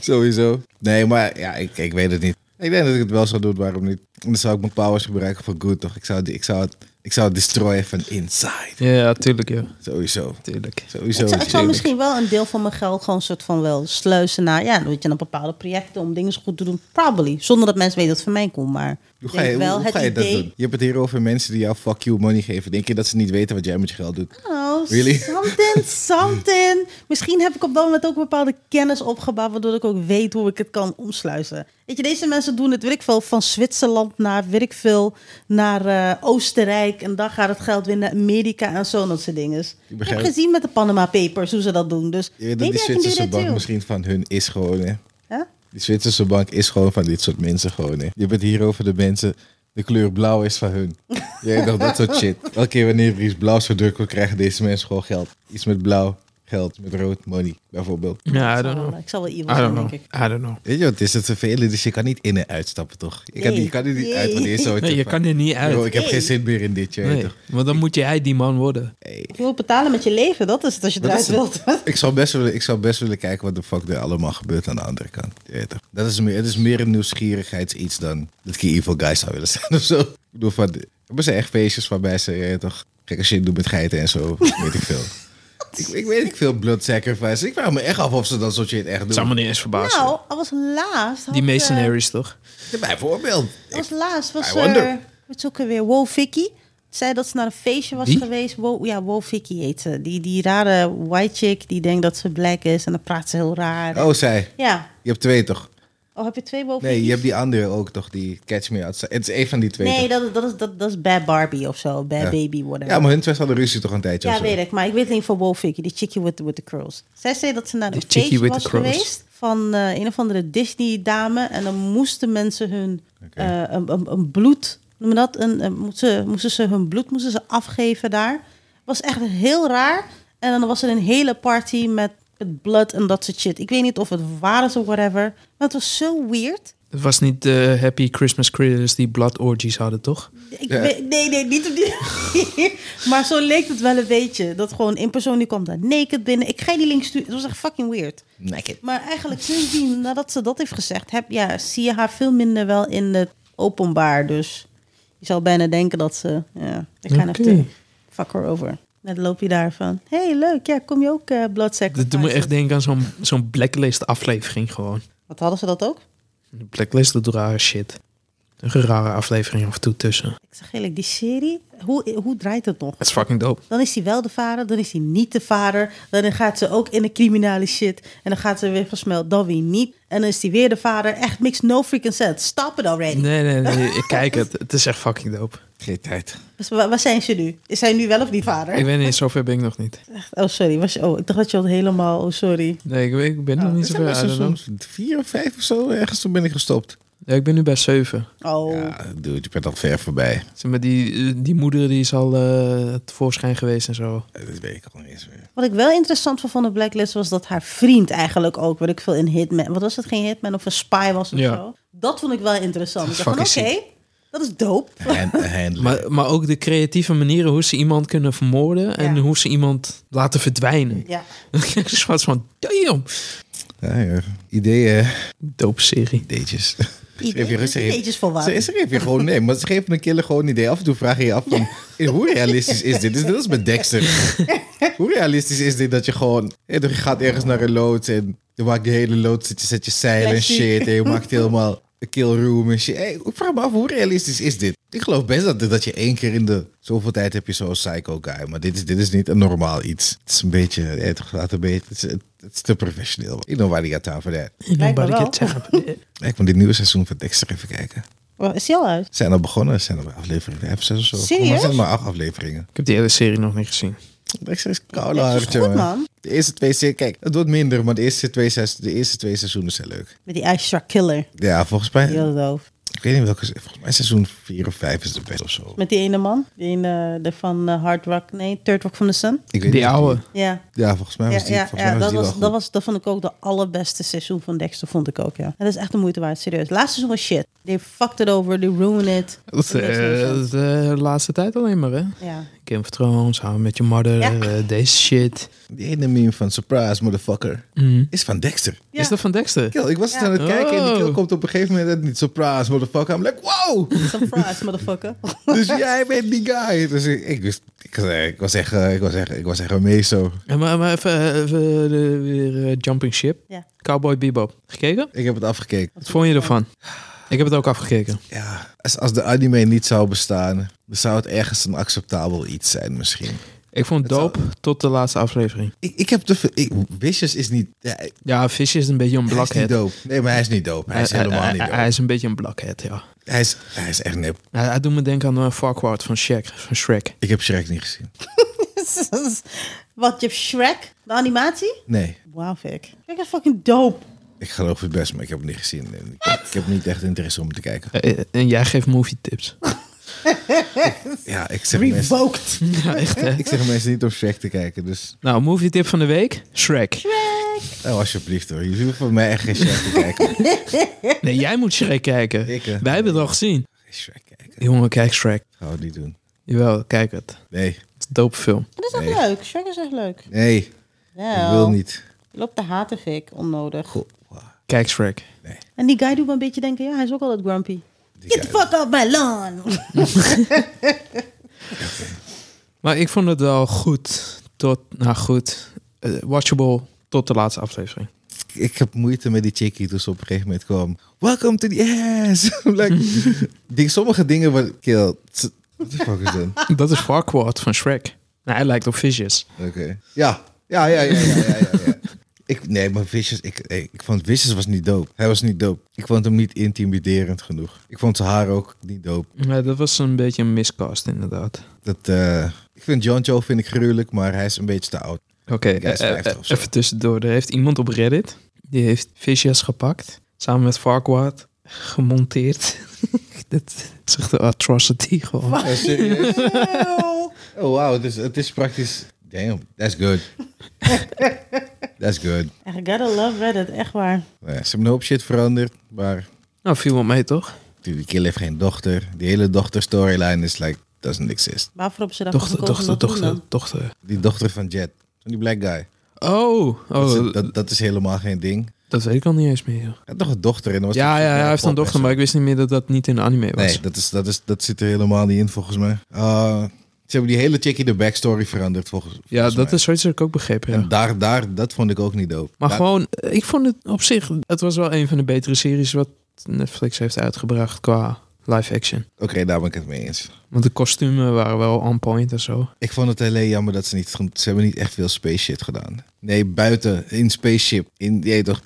S3: Sowieso. Nee, maar ja, ik, ik weet het niet. Ik denk dat ik het wel zou doen, waarom niet? En dan zou ik mijn powers gebruiken voor good, toch? Ik zou, die- ik zou, het, ik zou het destroyen van inside.
S2: ja, tuurlijk, ja.
S3: Sowieso.
S2: Tuurlijk.
S3: Sowieso.
S1: Ik zou, ik zou
S3: natuurlijk.
S1: misschien wel een deel van mijn geld gewoon een soort van wel sluizen naar, ja, weet je, naar bepaalde projecten om dingen goed te doen. Probably. Zonder dat mensen weten dat het van mij komt, maar
S3: Hoe
S1: ik
S3: ga je,
S1: denk
S3: hoe,
S1: wel
S3: hoe
S1: het
S3: ga je dat
S1: idee-
S3: doen? Je hebt het hier over mensen die jou fuck you money geven. Denk je dat ze niet weten wat jij met je geld doet?
S1: Oh,
S3: Really?
S1: something, something. Misschien heb ik op dat moment ook bepaalde kennis opgebouwd, waardoor ik ook weet hoe ik het kan omsluizen. Weet je, deze mensen doen het, weet ik veel, van Zwitserland naar, weet ik veel, naar eh, Oostenrijk. En dan gaat het geld weer naar Amerika en zo, en dat soort dingen. Ik heb
S3: begrijp-
S1: gezien met de Panama Papers hoe ze dat doen, dus
S3: Je weet dat
S1: maybe
S3: die
S1: I can do
S3: Zwitserse
S1: that
S3: bank
S1: too.
S3: misschien van hun is gewoon, hè?
S1: Huh?
S3: Die Zwitserse bank is gewoon van dit soort mensen gewoon. Hè. Je bent hier over de mensen. De kleur blauw is van hun. Jij dacht dat soort shit. Elke keer wanneer er iets blauws verdrukt wordt, krijgen deze mensen gewoon geld. Iets met blauw, geld, met rood, money, bijvoorbeeld.
S2: Ja, I
S1: Ik
S2: don't
S1: zal wel-
S2: know.
S1: Ik zal wel
S2: I
S1: evil
S2: don't
S1: zijn, denk
S2: know.
S1: ik.
S2: I don't know.
S3: Weet je wat het is? Het vervelende is, je kan niet in en uitstappen, toch? Je kan,
S1: Nee.
S3: niet, je kan er niet
S1: Nee.
S3: uit wanneer je zo...
S2: Nee, je kan er niet
S3: Yo,
S2: uit.
S3: ik heb geen zin meer in dit, je weet
S2: Nee,
S3: toch?
S2: want dan moet jij die man worden.
S1: Je moet betalen met je leven, dat is het als je
S3: Dat
S1: eruit
S3: is het.
S1: wilt. [laughs]
S3: Ik zou, best willen, ik zou best willen kijken wat de fuck er allemaal gebeurt aan de andere kant. Je weet toch? Dat is meer, het is meer een nieuwsgierigheidsiets dan dat ik een evil guy zou willen zijn [laughs] of zo. Ik bedoel, van, hebben ze echt feestjes waarbij ze je weet toch gekke shit doen met geiten en zo? weet ik veel. Ik, ik weet niet veel blood sacrifice. Ik vraag me echt af of ze dat soort shit echt doen.
S2: Dat zou me niet eens verbazen.
S1: Nou, al was laatst. Had,
S2: die
S1: eh,
S2: mercenaries, toch?
S3: Ja, bijvoorbeeld.
S1: al was laatst was
S3: I wonder.
S1: er. Wat ook weer? Wow Vicky. Zei dat ze naar een feestje was
S2: Wie?
S1: geweest. Wow, ja, Wow Vicky heet ze. Die, die rare white chick die denkt dat ze black is en dan praat ze heel raar.
S3: Oh, zij.
S1: Ja.
S3: Je hebt twee toch?
S1: Oh, heb je twee Wow
S3: Nee, je
S1: Vicky's?
S3: hebt die andere ook toch? Die Catch Me Outside. Het is één van die twee.
S1: Nee,
S3: toch?
S1: dat, dat, is, dat, dat is Bad Barbie of zo. Bad
S3: Ja.
S1: Baby, whatever.
S3: Ja, maar hun twee hadden ruzie toch een tijdje
S1: Ja,
S3: of zo.
S1: weet ik. Maar ik weet niet van Wolfie, die chickie with, with the curls. Zij zei dat ze naar een
S2: chickie
S1: feestje
S2: with
S1: was
S2: the curls.
S1: geweest van eh, een of andere Disney-dame. En dan moesten mensen hun
S3: Oké.
S1: eh, een, een, een bloed, noem je dat, een, een- moesten, moesten ze hun bloed moesten ze afgeven daar. Was echt heel raar. En dan was er een hele party met, met blood en dat soort shit. Ik weet niet of het waar is of whatever. Maar het was zo weird.
S2: Het was niet de Happy Christmas Critters die blood orgies hadden, toch?
S1: Ik
S3: Ja.
S1: weet- nee, nee, niet op die manier. [laughs] Maar zo leek het wel een beetje. Dat gewoon één persoon die kwam daar naked binnen. Ik ga je die link sturen. Het was echt fucking weird.
S3: Naked.
S1: Maar eigenlijk sindsdien, nadat ze dat heeft gezegd, heb, ja, zie je haar veel minder wel in het openbaar. Dus je zou bijna denken dat ze, ja, ik ga
S2: Oké.
S1: even fuck her over. Net loop je daar van, hey leuk, ja, kom je ook eh blood
S2: Dat doet me
S1: sacrifice?
S2: echt denken aan zo'n zo'n blacklist aflevering gewoon.
S1: Wat hadden ze dat ook?
S2: De blacklist doet rare shit. Een rare aflevering af en toe tussen.
S1: Ik zeg eerlijk, die serie, hoe, hoe draait het nog?
S2: Het is fucking dope.
S1: Dan is hij wel de vader, dan is hij niet de vader. Dan gaat ze ook in de criminale shit. En dan gaat ze weer versmeld, dan weer niet. En dan is hij weer de vader. Echt makes no freaking sense. Stop it already.
S2: Nee, nee, nee. Ik kijk het. Het is echt fucking dope.
S3: Geen tijd.
S1: Dus wa- waar zijn ze nu? Is hij nu wel of niet vader?
S2: Ik weet niet, zover ben ik nog niet.
S1: Oh, sorry. Was je, oh, ik dacht dat je al helemaal... Oh, sorry.
S2: Nee, ik, weet- ik ben nog niet
S3: Er zijn
S2: zover. I
S3: best
S2: don't
S3: wel
S2: know.
S3: soms vier of vijf of zo. Ergens toen ben ik gestopt.
S2: Ja, ik ben nu bij 7.
S1: Oh,
S3: Ja, dude, je bent al ver voorbij.
S2: Zeg maar, die, die moeder die is al eh, tevoorschijn geweest en zo.
S3: Eh, Dat weet ik al niet
S2: [laughs]
S3: eens meer.
S1: wat ik wel interessant vond van de Blacklist was dat haar vriend eigenlijk ook, wat ik veel in Hitman, wat was het, geen Hitman of een spy was of
S2: Ja.
S1: zo. Dat vond ik wel interessant. Ik dacht van,
S2: Fucking
S1: oké, dat is dope.
S3: Hand- handler.
S2: Maar, maar ook de creatieve manieren hoe ze iemand kunnen vermoorden en
S1: Ja.
S2: hoe ze iemand laten verdwijnen. [laughs]
S1: Ja.
S2: Ik was van, damn.
S3: Ja, ja. Ideeën,
S2: Dope serie.
S3: ideetjes.
S1: Idee-
S3: rustig even.
S1: Ideetjes voor
S3: Ze, ze geven je gewoon, nee, maar ze geven een killer gewoon een idee. Af en toe vraag je je af, van, eh, hoe realistisch is dit? Dus dat is met Dexter. hoe realistisch is dit dat je gewoon, eh, je gaat ergens naar een loods en je maakt de hele loods, zet je, zet je zeilen en
S1: Plastic.
S3: shit. En je maakt helemaal een kill room en shit. Eh, ik vraag me af, hoe realistisch is dit? Ik geloof best dat, dat je één keer in de zoveel tijd heb je zo'n psycho guy. Maar dit is, dit is niet een normaal iets. Het is een beetje, eh, het gaat een beetje, het is, het is te professioneel. Ik know waar die gaat aan voor dat.
S1: Blijkbaar
S2: Nobody
S1: wel. [laughs]
S2: gets happy.
S3: Ik moet dit nieuwe seizoen van Dexter even kijken.
S1: Wat, Is die al uit?
S3: Ze zijn al begonnen, ze zijn al bij aflevering 5, 6 of zo.
S1: Serieus?
S3: Maar het zijn maar acht afleveringen.
S2: Ik heb die hele serie nog niet gezien.
S3: Dexter is koude
S1: Dat is
S3: hard,
S1: goed,
S3: jongen.
S1: man.
S3: De eerste twee seizoenen, kijk, het wordt minder, maar de eerste twee, seiz- de eerste twee seizoenen zijn leuk.
S1: Met die Aisha Killer.
S3: Ja, volgens mij,
S1: Heel doof.
S3: ik weet niet welke, se- volgens mij seizoen 4 of 5 is de beste of zo.
S1: Met die ene man. Die ene de van eh, Hard Rock, nee, Third Rock from the Sun.
S3: Ik weet
S2: Die
S3: niet.
S2: oude.
S1: Ja.
S3: Ja, volgens mij
S1: Ja,
S3: was die,
S1: ja,
S3: volgens
S1: ja,
S3: mij was
S1: dat,
S3: die
S1: was,
S3: wel
S1: dat,
S3: goed.
S1: was, dat vond ik ook de allerbeste seizoen van Dexter, vond ik ook, ja. Dat is echt de moeite waard, serieus. Laatste seizoen was shit. They fucked it over, they ruined it.
S2: Dat is eh,
S1: Niks
S3: eh,
S1: meer zo.
S2: de laatste tijd alleen maar, hè?
S1: Ja.
S2: Game of Thrones, samen met je mother,
S1: Ja.
S2: eh, deze shit.
S3: Die ene meme van Surprise, motherfucker, is van Dexter.
S1: Ja.
S2: Is dat van Dexter?
S3: Kill, Mhm. ik was
S1: Ja.
S3: aan het kijken en die kill
S2: Oh.
S3: komt op een gegeven moment uit, niet Surprise, motherfucker. I'm like, wow! [laughs]
S1: Surprise, motherfucker.
S3: dus jij bent die guy. Dus ik, ik, wist- ik, was, eh, ik was echt, eh, ik was echt, ik was echt een meeso.
S2: Ja, maar, maar even, eh, even, eh, weer eh, Jumping Ship.
S1: Ja. [laughs]
S2: Cowboy Bebop. Gekeken?
S3: Ik heb het afgekeken.
S2: Wat vond je ervan? Ik heb het ook afgekeken.
S3: Ja, als, als de anime niet zou bestaan, dan zou het ergens een acceptabel iets zijn misschien.
S2: Ik vond het
S3: Het
S2: dope tot de laatste aflevering.
S3: Ik, ik heb te veel... Ik, Vicious is niet... Ja, hij
S2: Ja, Visje is een beetje een
S3: is niet
S2: blackhead.
S3: dope. Nee, maar hij is niet dope. Hij is helemaal niet
S2: hij, hij
S3: dope.
S2: is een beetje een blackhead, ja.
S3: Hij is, hij is echt nep.
S2: Hij, hij doet me denken aan een Farquaad van Shrek. Van Shrek.
S3: Ik heb Shrek niet gezien.
S1: Wat, je hebt Shrek? De animatie?
S3: Nee,
S1: Wauw, Vic. Shrek is fucking dope.
S3: ik geloof het best, maar ik heb het niet gezien. En Ik, ik heb niet echt interesse om te kijken.
S2: Eh, eh, en jij geeft movie tips.
S3: [laughs]
S2: [laughs]
S3: Ja, ik zeg, mensen,
S1: Revoked.
S2: ja, echt hè?
S3: ik zeg mensen niet om Shrek te kijken. Dus
S2: Nou, movie tip van de week. Shrek.
S3: oh, alsjeblieft hoor. Jullie hoeven voor mij echt geen Shrek te [laughs] kijken.
S2: Nee, jij moet Shrek kijken.
S3: Ik, hè?
S2: Wij hebben het al gezien.
S3: Geen Shrek kijken.
S2: Jongen, kijk Shrek.
S3: Gaan we het niet doen.
S2: Jawel, kijk het. Het
S3: Nee,
S2: is een dope film.
S1: Dat is echt
S3: Nee.
S1: leuk. Shrek is echt leuk.
S3: nee. Ik
S1: Wel,
S3: wil niet.
S1: Je loopt te haten, Vic. Onnodig.
S3: Goh, wauw.
S2: Kijk Shrek.
S1: En die guy doet me een beetje denken, ja, hij is ook altijd grumpy.
S3: Die
S1: Get the
S3: guy-
S1: fuck off my
S3: [laughs]
S1: lawn.
S2: Maar ik vond het wel goed. Tot, nou goed. eh, watchable tot de laatste aflevering.
S3: ik heb moeite met die chickie toen ze op een gegeven moment kwam. Welcome to the ass. [laughs] like, die, sommige dingen wat kill. What the fuck is dat? [laughs]
S2: Dat is Farquaad van Shrek. Nou, hij lijkt op Vicious.
S3: Oké. Ja. Ja, ja, ja, ja, ja, ja, ja. Ik, nee, maar Vicious, ik, ik ik vond Vicious was niet dope. Hij was niet dope. Ik vond hem niet intimiderend genoeg. Ik vond zijn haar ook niet dope.
S2: Ja, dat was een beetje een miscast inderdaad.
S3: Dat, eh, ik vind John Joe vind ik gruwelijk, maar hij is een beetje te oud.
S2: Oké,
S3: hij is
S2: eh, eh,
S3: 50 of zo.
S2: even tussendoor. Er heeft iemand op Reddit Die heeft visjes gepakt. Samen met Farquaad. Gemonteerd. [laughs] dat is echt een atrocity gewoon.
S3: [laughs] Ja, serieus? Oh, wauw. Dus het is praktisch... Damn, that's good. [laughs] that's good.
S1: I gotta love Reddit, echt waar.
S3: Nou ja, ze hebben een hoop shit veranderd, maar
S2: Nou, viel wel mee toch?
S3: die kill heeft geen dochter. Die hele dochter storyline is like, doesn't exist.
S1: Waarvoor op ze dat
S2: Dochter,
S1: gekozen
S2: dochter,
S1: dat te doen
S2: dochter,
S1: dan?
S2: dochter.
S3: Die dochter van Jet, van die black guy.
S2: Oh,
S3: Dat, is,
S2: oh dat,
S3: dat, dat is helemaal geen ding.
S2: dat weet ik al niet eens meer. joh.
S3: Hij had nog een dochter en dan was
S2: Ja,
S3: die-
S2: ja, hij heeft een
S3: pop-
S2: dochter, maar ik wist niet meer dat dat niet in de anime was.
S3: Nee, dat, is, dat, is, dat zit er helemaal niet in volgens mij. Eh, ze hebben die hele chickie de backstory veranderd volgens,
S2: ja,
S3: volgens
S2: dat
S3: mij.
S2: is zoiets dat ik ook begrepen. Ja.
S3: En daar, daar, dat vond ik ook niet dope.
S2: Maar
S3: Daar-
S2: gewoon, eh, ik vond het op zich, het was wel een van de betere series wat Netflix heeft uitgebracht qua live action.
S3: Oké, daar ben ik het mee eens.
S2: Want de kostuumen waren wel on point en zo.
S3: Ik vond het alleen jammer dat ze niet... Ze hebben niet echt veel space shit gedaan. Nee, buiten, in spaceship. In, je weet toch,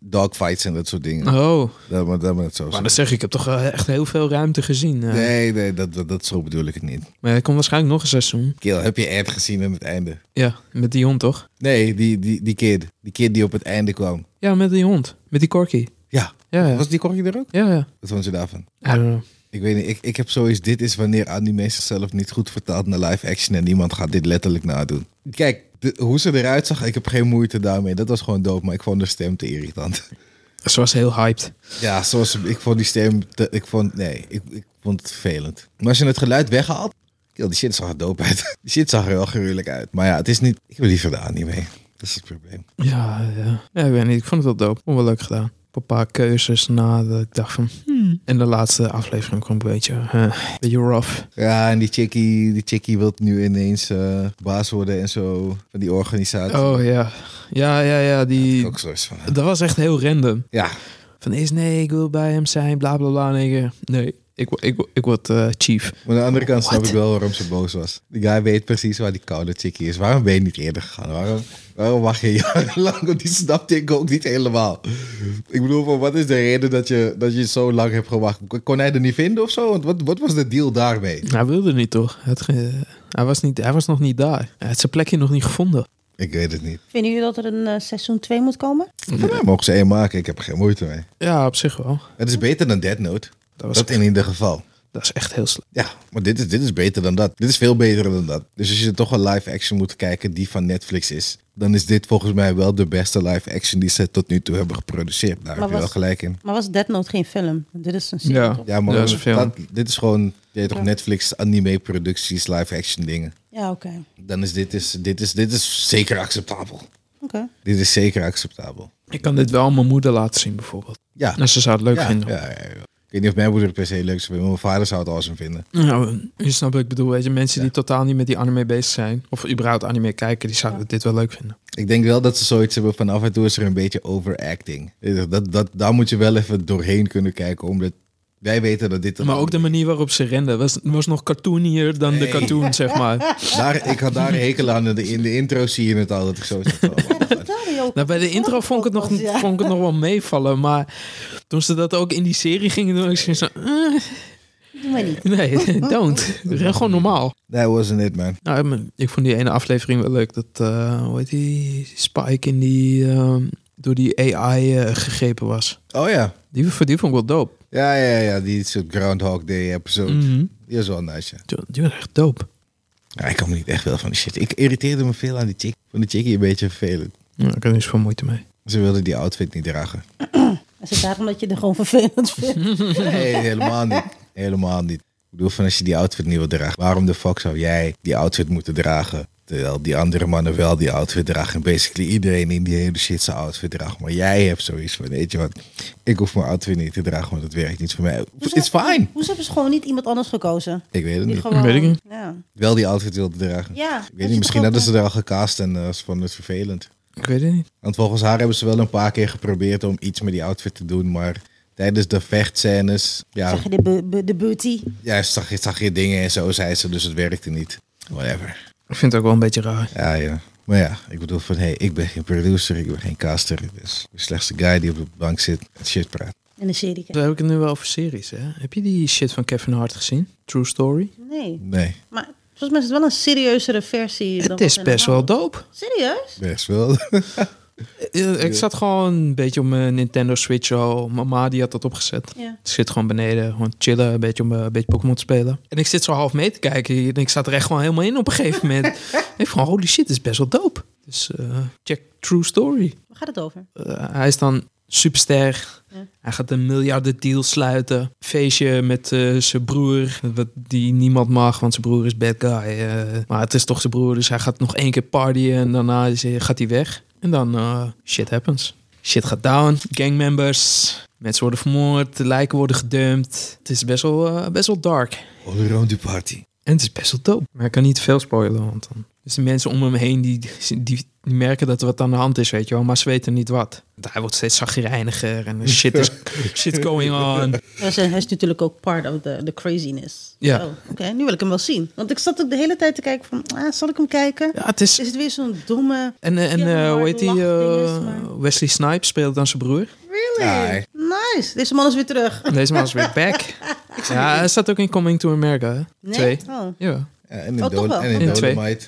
S3: dogfights en dat soort dingen.
S2: Oh,
S3: Dat, maar, dat maar het zo
S2: maar
S3: zeggen.
S2: dan zeg ik, ik heb toch eh, echt heel veel ruimte gezien. eh.
S3: Nee, nee, dat, dat, dat zo bedoel ik het niet.
S2: Maar er komt waarschijnlijk nog een seizoen.
S3: Kill, heb je Ed gezien aan het einde?
S2: Ja, met die hond toch?
S3: Nee, die, die, die kid. Die kid die op het einde kwam.
S2: Ja, met die hond. Met die corky.
S3: Ja.
S2: Ja, ja.
S3: Was die korkje er ook?
S2: Ja, ja.
S3: Wat vond je daarvan?
S2: I don't know.
S3: Ik weet niet, ik, ik heb zoiets, dit is wanneer anime zichzelf niet goed vertaalt naar live action en niemand gaat dit letterlijk nadoen. Kijk, de- hoe ze eruit zag, ik heb geen moeite daarmee. Dat was gewoon dope, maar ik vond de stem te irritant.
S2: Ze was heel hyped.
S3: Ja, zoals ik vond die stem, te- ik vond, nee, ik, ik vond het vervelend. Maar als je het geluid weghaalt, joh, die shit zag er dope uit. [laughs] Die shit zag er wel gruwelijk uit. Maar ja, het is niet, ik heb liever de anime. Dat is het probleem.
S2: Ja, ja. ja, ik weet niet. Ik vond het wel dope. Vond wel leuk gedaan. Ik heb Een paar keuzes nadat ik dacht van... hmm. En de laatste aflevering kwam een beetje... eh, beetje rough.
S3: Ja, en die chickie, die chickie wil nu ineens eh, baas worden en zo van die organisatie.
S2: Oh ja. Ja, ja, ja. Die,
S3: Ook zoiets van.
S2: dat was echt heel random.
S3: Ja,
S2: Van eerst nee, ik wil bij hem zijn. Bla, bla, bla. Nee, ik- nee ik, wo- ik, wo- ik word eh, chief.
S3: maar aan de andere kant snap
S2: What?
S3: ik wel waarom ze boos was. Die guy weet precies waar die koude chickie is. Waarom ben je niet eerder gegaan? Waarom, waarom wacht je [laughs] jarenlang? Want die snapte ik ook niet helemaal. Ik bedoel, van, wat is de reden dat je, dat je zo lang hebt gewacht? Kon hij er niet vinden of zo? Want wat, wat was de deal daarmee?
S2: Hij wilde niet toch? Het, ge- hij, was niet, hij was nog niet daar. Hij had zijn plekje nog niet gevonden.
S3: Ik weet het niet.
S1: Vinden jullie dat er een eh, seizoen 2 moet komen?
S3: Voor mij mogen ze één maken. Ik heb er geen moeite mee.
S2: Ja, op zich wel.
S3: Het is beter dan Dead Note.
S2: Dat was-
S3: dat in ieder geval.
S2: Dat is echt heel slecht.
S3: Ja, maar dit is, dit is beter dan dat. Dit is veel beter dan dat. Dus als je toch een live action moet kijken die van Netflix is, dan is dit volgens mij wel de beste live action die ze tot nu toe hebben geproduceerd. Daar heb
S1: Maar
S3: je wel
S1: was-
S3: gelijk in.
S1: Maar was Dead Note geen film? Dit is een serie.
S2: Ja.
S1: toch?
S3: Ja, maar
S2: dat is een film.
S3: dat- dit is gewoon je weet toch, Netflix anime producties, live action dingen.
S1: Ja, oké.
S3: Dan is dit, is, dit, is, dit is zeker acceptabel.
S1: Oké.
S3: Dit is zeker acceptabel.
S2: Ik kan dit wel aan mijn moeder laten zien bijvoorbeeld.
S3: Ja.
S2: En ze zou het leuk
S3: ja,
S2: vinden.
S3: ja, ja, ja. Ik weet niet of mijn moeder het per se leuk zou vinden, maar mijn vader zou het awesome vinden.
S2: Nou, je snapt wat ik bedoel. Weet je, mensen die totaal niet met die anime bezig zijn, of überhaupt anime kijken, die zouden dit wel leuk vinden.
S3: Ik denk wel dat ze zoiets hebben van af en toe is er een beetje overacting. Dat, dat, daar moet je wel even doorheen kunnen kijken, omdat wij weten dat dit...
S2: Maar ook de manier waarop ze renden was, was nog cartoonier dan de
S3: Nee.
S2: cartoon, zeg maar.
S3: [laughs] Daar, ik had daar een hekel aan. In de, in de intro zie je het al, dat ik zo zat. oh,
S1: Dat
S2: [laughs]
S1: vertelde je ook.
S2: Nou, bij de intro vond ik, het nog,
S1: Ja.
S2: vond ik het nog wel meevallen, maar toen ze dat ook in die serie gingen doen, ik zei zo, eh,
S1: Doe maar niet.
S2: nee, [laughs] don't. Ren gewoon normaal.
S3: That wasn't it, man.
S2: Nou, ik ben- ik vond die ene aflevering wel leuk. Dat, eh hoe heet die, Spike in die, ehm, door die AI eh, gegrepen was.
S3: Oh ja.
S2: Die, die vond ik wel dope.
S3: Ja, ja, ja. Die soort Groundhog Day episode.
S2: Mhm.
S3: Die is wel nice, ja.
S2: Die, die was echt dope.
S3: Ja, Ik kan me niet echt wel van die shit. Ik irriteerde me veel aan die chick. Van die chickie een beetje vervelend.
S2: Ja, ik heb er niet zoveel moeite mee.
S3: Ze wilde die outfit niet dragen.
S1: Is het daarom dat je er gewoon vervelend vindt?
S3: Nee, helemaal niet. Helemaal niet. Ik bedoel, van als je die outfit niet wil dragen, waarom de fuck zou jij die outfit moeten dragen? Terwijl die andere mannen wel die outfit dragen. En basically iedereen in die hele shit zijn outfit draagt. Maar jij hebt zoiets van, weet je wat, ik hoef mijn outfit niet te dragen, want het werkt niet voor mij. It's fine.
S1: Hoe hebben ze gewoon niet iemand anders gekozen?
S3: Ik weet het
S1: Die
S3: niet.
S1: gewoon...
S2: Weet ik niet.
S1: Ja.
S3: Wel die outfit wilde dragen.
S1: ja dus
S3: Ik weet niet, misschien hadden ze er al gecast en eh, ze vonden het vervelend.
S2: Ik weet het niet.
S3: Want volgens haar hebben ze wel een paar keer geprobeerd om iets met die outfit te doen, maar... Tijdens de vechtscènes, ja,
S1: Zeg je de, bu- bu- de booty?
S3: Ja, ze zag, zag je dingen en zo, zei ze, dus het werkte niet. Whatever.
S2: Ik vind het ook wel een beetje raar.
S3: Ja, ja. Maar ja, ik bedoel van, hé, hey, ik ben geen producer, ik ben geen caster. Dus ik ben slechts de guy die op de bank zit en shit praat.
S1: In de serie.
S2: Dan heb ik het nu wel over series, hè. Heb je die shit van Kevin Hart gezien? True Story?
S1: Nee.
S3: Nee,
S1: Maar volgens mij is het wel een serieusere versie. dan
S2: Het is
S1: wat we
S2: best wel
S1: normaal-
S2: dope.
S1: Serieus?
S3: best wel.
S2: Eh, Ik zat gewoon een beetje op mijn Nintendo Switch al. Mama die had dat opgezet.
S1: Ja.
S2: Ik zit gewoon beneden, gewoon chillen, een beetje, om, eh, een beetje Pokémon te spelen. En ik zit zo half mee te kijken en ik zat er echt gewoon helemaal in op een gegeven [laughs] moment. ik van, holy shit, dit is best wel dope. Dus eh, check True Story.
S1: Waar gaat het over?
S2: Eh, hij is dan superster.
S1: Ja.
S2: Hij gaat een miljarden deal sluiten. Feestje met eh, zijn broer, wat die niemand mag, want zijn broer is bad guy. eh. maar het is toch zijn broer, dus hij gaat nog één keer partyen en daarna is hij- gaat hij weg. En dan eh, shit happens. Shit gaat down, gangmembers, mensen worden vermoord, de lijken worden gedumpt. Het is best wel, eh, best wel dark.
S3: [laughs] All around the party.
S2: En het is best wel dope. Maar ik kan niet veel spoilen, want dan... Dus de mensen om hem heen, die, die, die merken dat er wat aan de hand is, weet je wel. Maar ze weten niet wat. Want Hij wordt steeds zagrijniger [laughs] en shit is shit going on.
S1: Hij is, hij is natuurlijk ook part of the, the craziness.
S2: Ja.
S1: Oh, Oké, nu wil ik hem wel zien. Want ik zat ook de hele tijd te kijken van, ah, zal ik hem kijken?
S2: Ja, het is...
S1: Is het weer zo'n domme...
S2: En, eh, en
S1: Ja,
S2: eh,
S1: maar
S2: hoe heet die?
S1: lachdinges,
S2: eh,
S1: maar-
S2: Wesley Snipes speelt dan zijn broer.
S1: Really?
S3: Nee.
S1: Nice. Deze man is weer terug.
S2: En deze man is
S1: [laughs]
S2: weer back. Ja, hij staat ook in Coming to America, hè?
S1: Nee?
S2: Twee.
S1: Oh.
S2: Ja.
S3: Ja, en in,
S1: Oh, toch
S3: Dol-
S1: wel.
S3: en in
S2: In twee.
S3: Dolomite.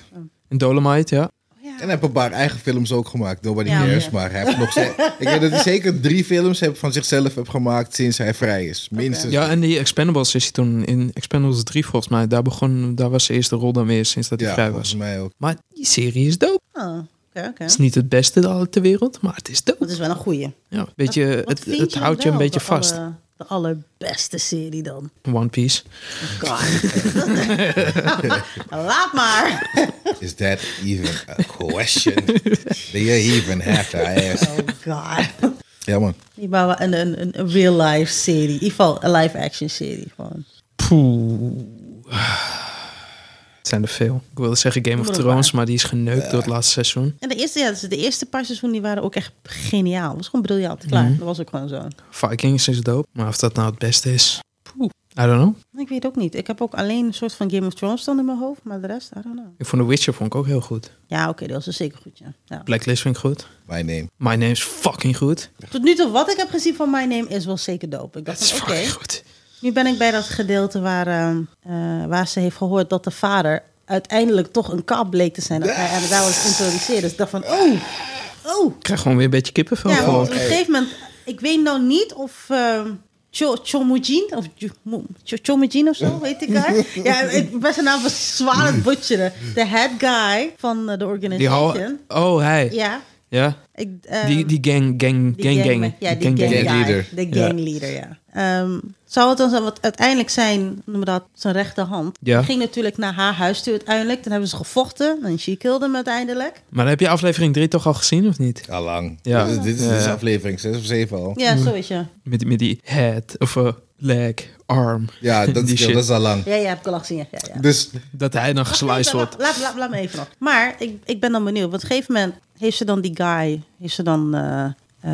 S2: En Dolomite, ja.
S3: En hij heeft een paar eigen films ook gemaakt. Nobody
S1: Ja,
S3: Cares.
S1: ja.
S3: Maar hij heeft nog...
S1: [laughs]
S3: ze- Ik weet dat hij zeker drie films heeft van zichzelf heeft gemaakt sinds hij vrij is. Minstens.
S2: Ja, en die Expendables is hij toen in Expendables 3 volgens mij. Daar, begon, daar was zijn eerste rol dan weer sinds dat hij
S3: Ja,
S2: vrij
S3: volgens
S2: was.
S3: mij ook.
S2: Maar die serie is dope.
S1: Oh, oké, oké.
S2: Het is niet het beste ter wereld, maar het is dope.
S1: Dat is wel een goeie.
S2: Ja, weet je,
S1: Wat
S2: Eh, het,
S1: vind
S2: het
S1: dan
S2: houdt je een
S1: wel
S2: beetje
S1: de
S2: vast.
S1: aller- de allerbeste serie dan. Oh,
S2: One Piece. [laughs]
S1: God. [laughs] Laat maar.
S3: Is that even a question? [laughs] Do you even have to ask?
S1: Oh god.
S3: Ja, man.
S1: Die bouwen een, een, een- een real life serie. In ieder geval een live action serie. Gewoon.
S2: Poeh. Het zijn er veel. Ik wilde zeggen Game of
S1: maar een
S2: Thrones, maar die is geneukt door het
S1: Eh.
S2: laatste seizoen.
S1: En de eerste, ja, dus de eerste paar seizoenen die waren ook echt geniaal. Het was gewoon briljant. Klaar.
S2: Mhm.
S1: Dat was ook gewoon zo.
S2: Vikings is dope, maar of dat nou het beste is, poeh. I don't know.
S1: Ik weet ook niet. Ik heb ook alleen een soort van Game of Thrones dan in mijn hoofd. Maar de rest, I don't know.
S2: Ik vond The Witcher vond ik ook heel goed.
S1: Ja, oké. dat was dus zeker goed, ja. ja.
S2: Blacklist vind ik goed.
S3: My name.
S2: My Name is fucking goed.
S1: Tot nu toe, wat ik heb gezien van My Name is wel zeker dope. Ik
S2: Dat
S1: dacht
S2: is
S1: van, Oh, oké.
S2: fucking goed.
S1: Nu ben ik bij dat gedeelte waar, ehm, eh, waar ze heeft gehoord dat de vader uiteindelijk toch een kap bleek te zijn. Dat hij aan de daar was introduceerd. Dus ik dacht van, oh, oh.
S2: Ik krijg gewoon weer een beetje kippenvel.
S1: Ja,
S2: gewoon.
S1: want op een gegeven moment, ik weet nou niet of ehm, Cho Chomujin, of Ju- Mo- Cho- Chomujin of
S2: [laughs]
S1: zo, weet ik haar. Ja, ik ben zijn naam was zwaar aan het butcheren. De head guy van eh, de
S2: Die hou...
S1: organization.
S2: Oh, hij. Ja.
S1: Ja, ik, ehm,
S2: Die, die gang, gang,
S1: die
S2: gang, gang.
S1: Ja, die gang,
S3: gang.
S1: guy.
S3: Leader.
S1: De
S2: Ja.
S1: gangleader, ja. Ehm, zou het dan zo, want uiteindelijk zijn, noem dat, zijn rechterhand.
S2: Ja.
S1: Ging natuurlijk naar haar huis toe uiteindelijk. Dan hebben ze gevochten. En she killed hem uiteindelijk.
S2: Maar heb je aflevering 3 toch al gezien, of niet?
S3: Allang.
S2: Ja.
S3: Dit, is- dit is
S2: Ja.
S3: dit is aflevering 6 of 7 al.
S1: Ja,
S2: Mm.
S1: zo is je.
S2: Met, met die head of eh, leg, arm. [laughs]
S3: Ja, dat,
S2: die
S3: is
S2: shit.
S3: dat is allang.
S1: Ja, ja, heb ik al gezien. Ja, ja, ja.
S3: Dus
S2: Dat hij
S1: Oh,
S2: dan gesliced wordt.
S1: nou- Laat, laat, laat me even nog. Maar ik, ik ben dan benieuwd. Want op een gegeven moment heeft ze dan die guy... Heeft ze dan... eh, eh,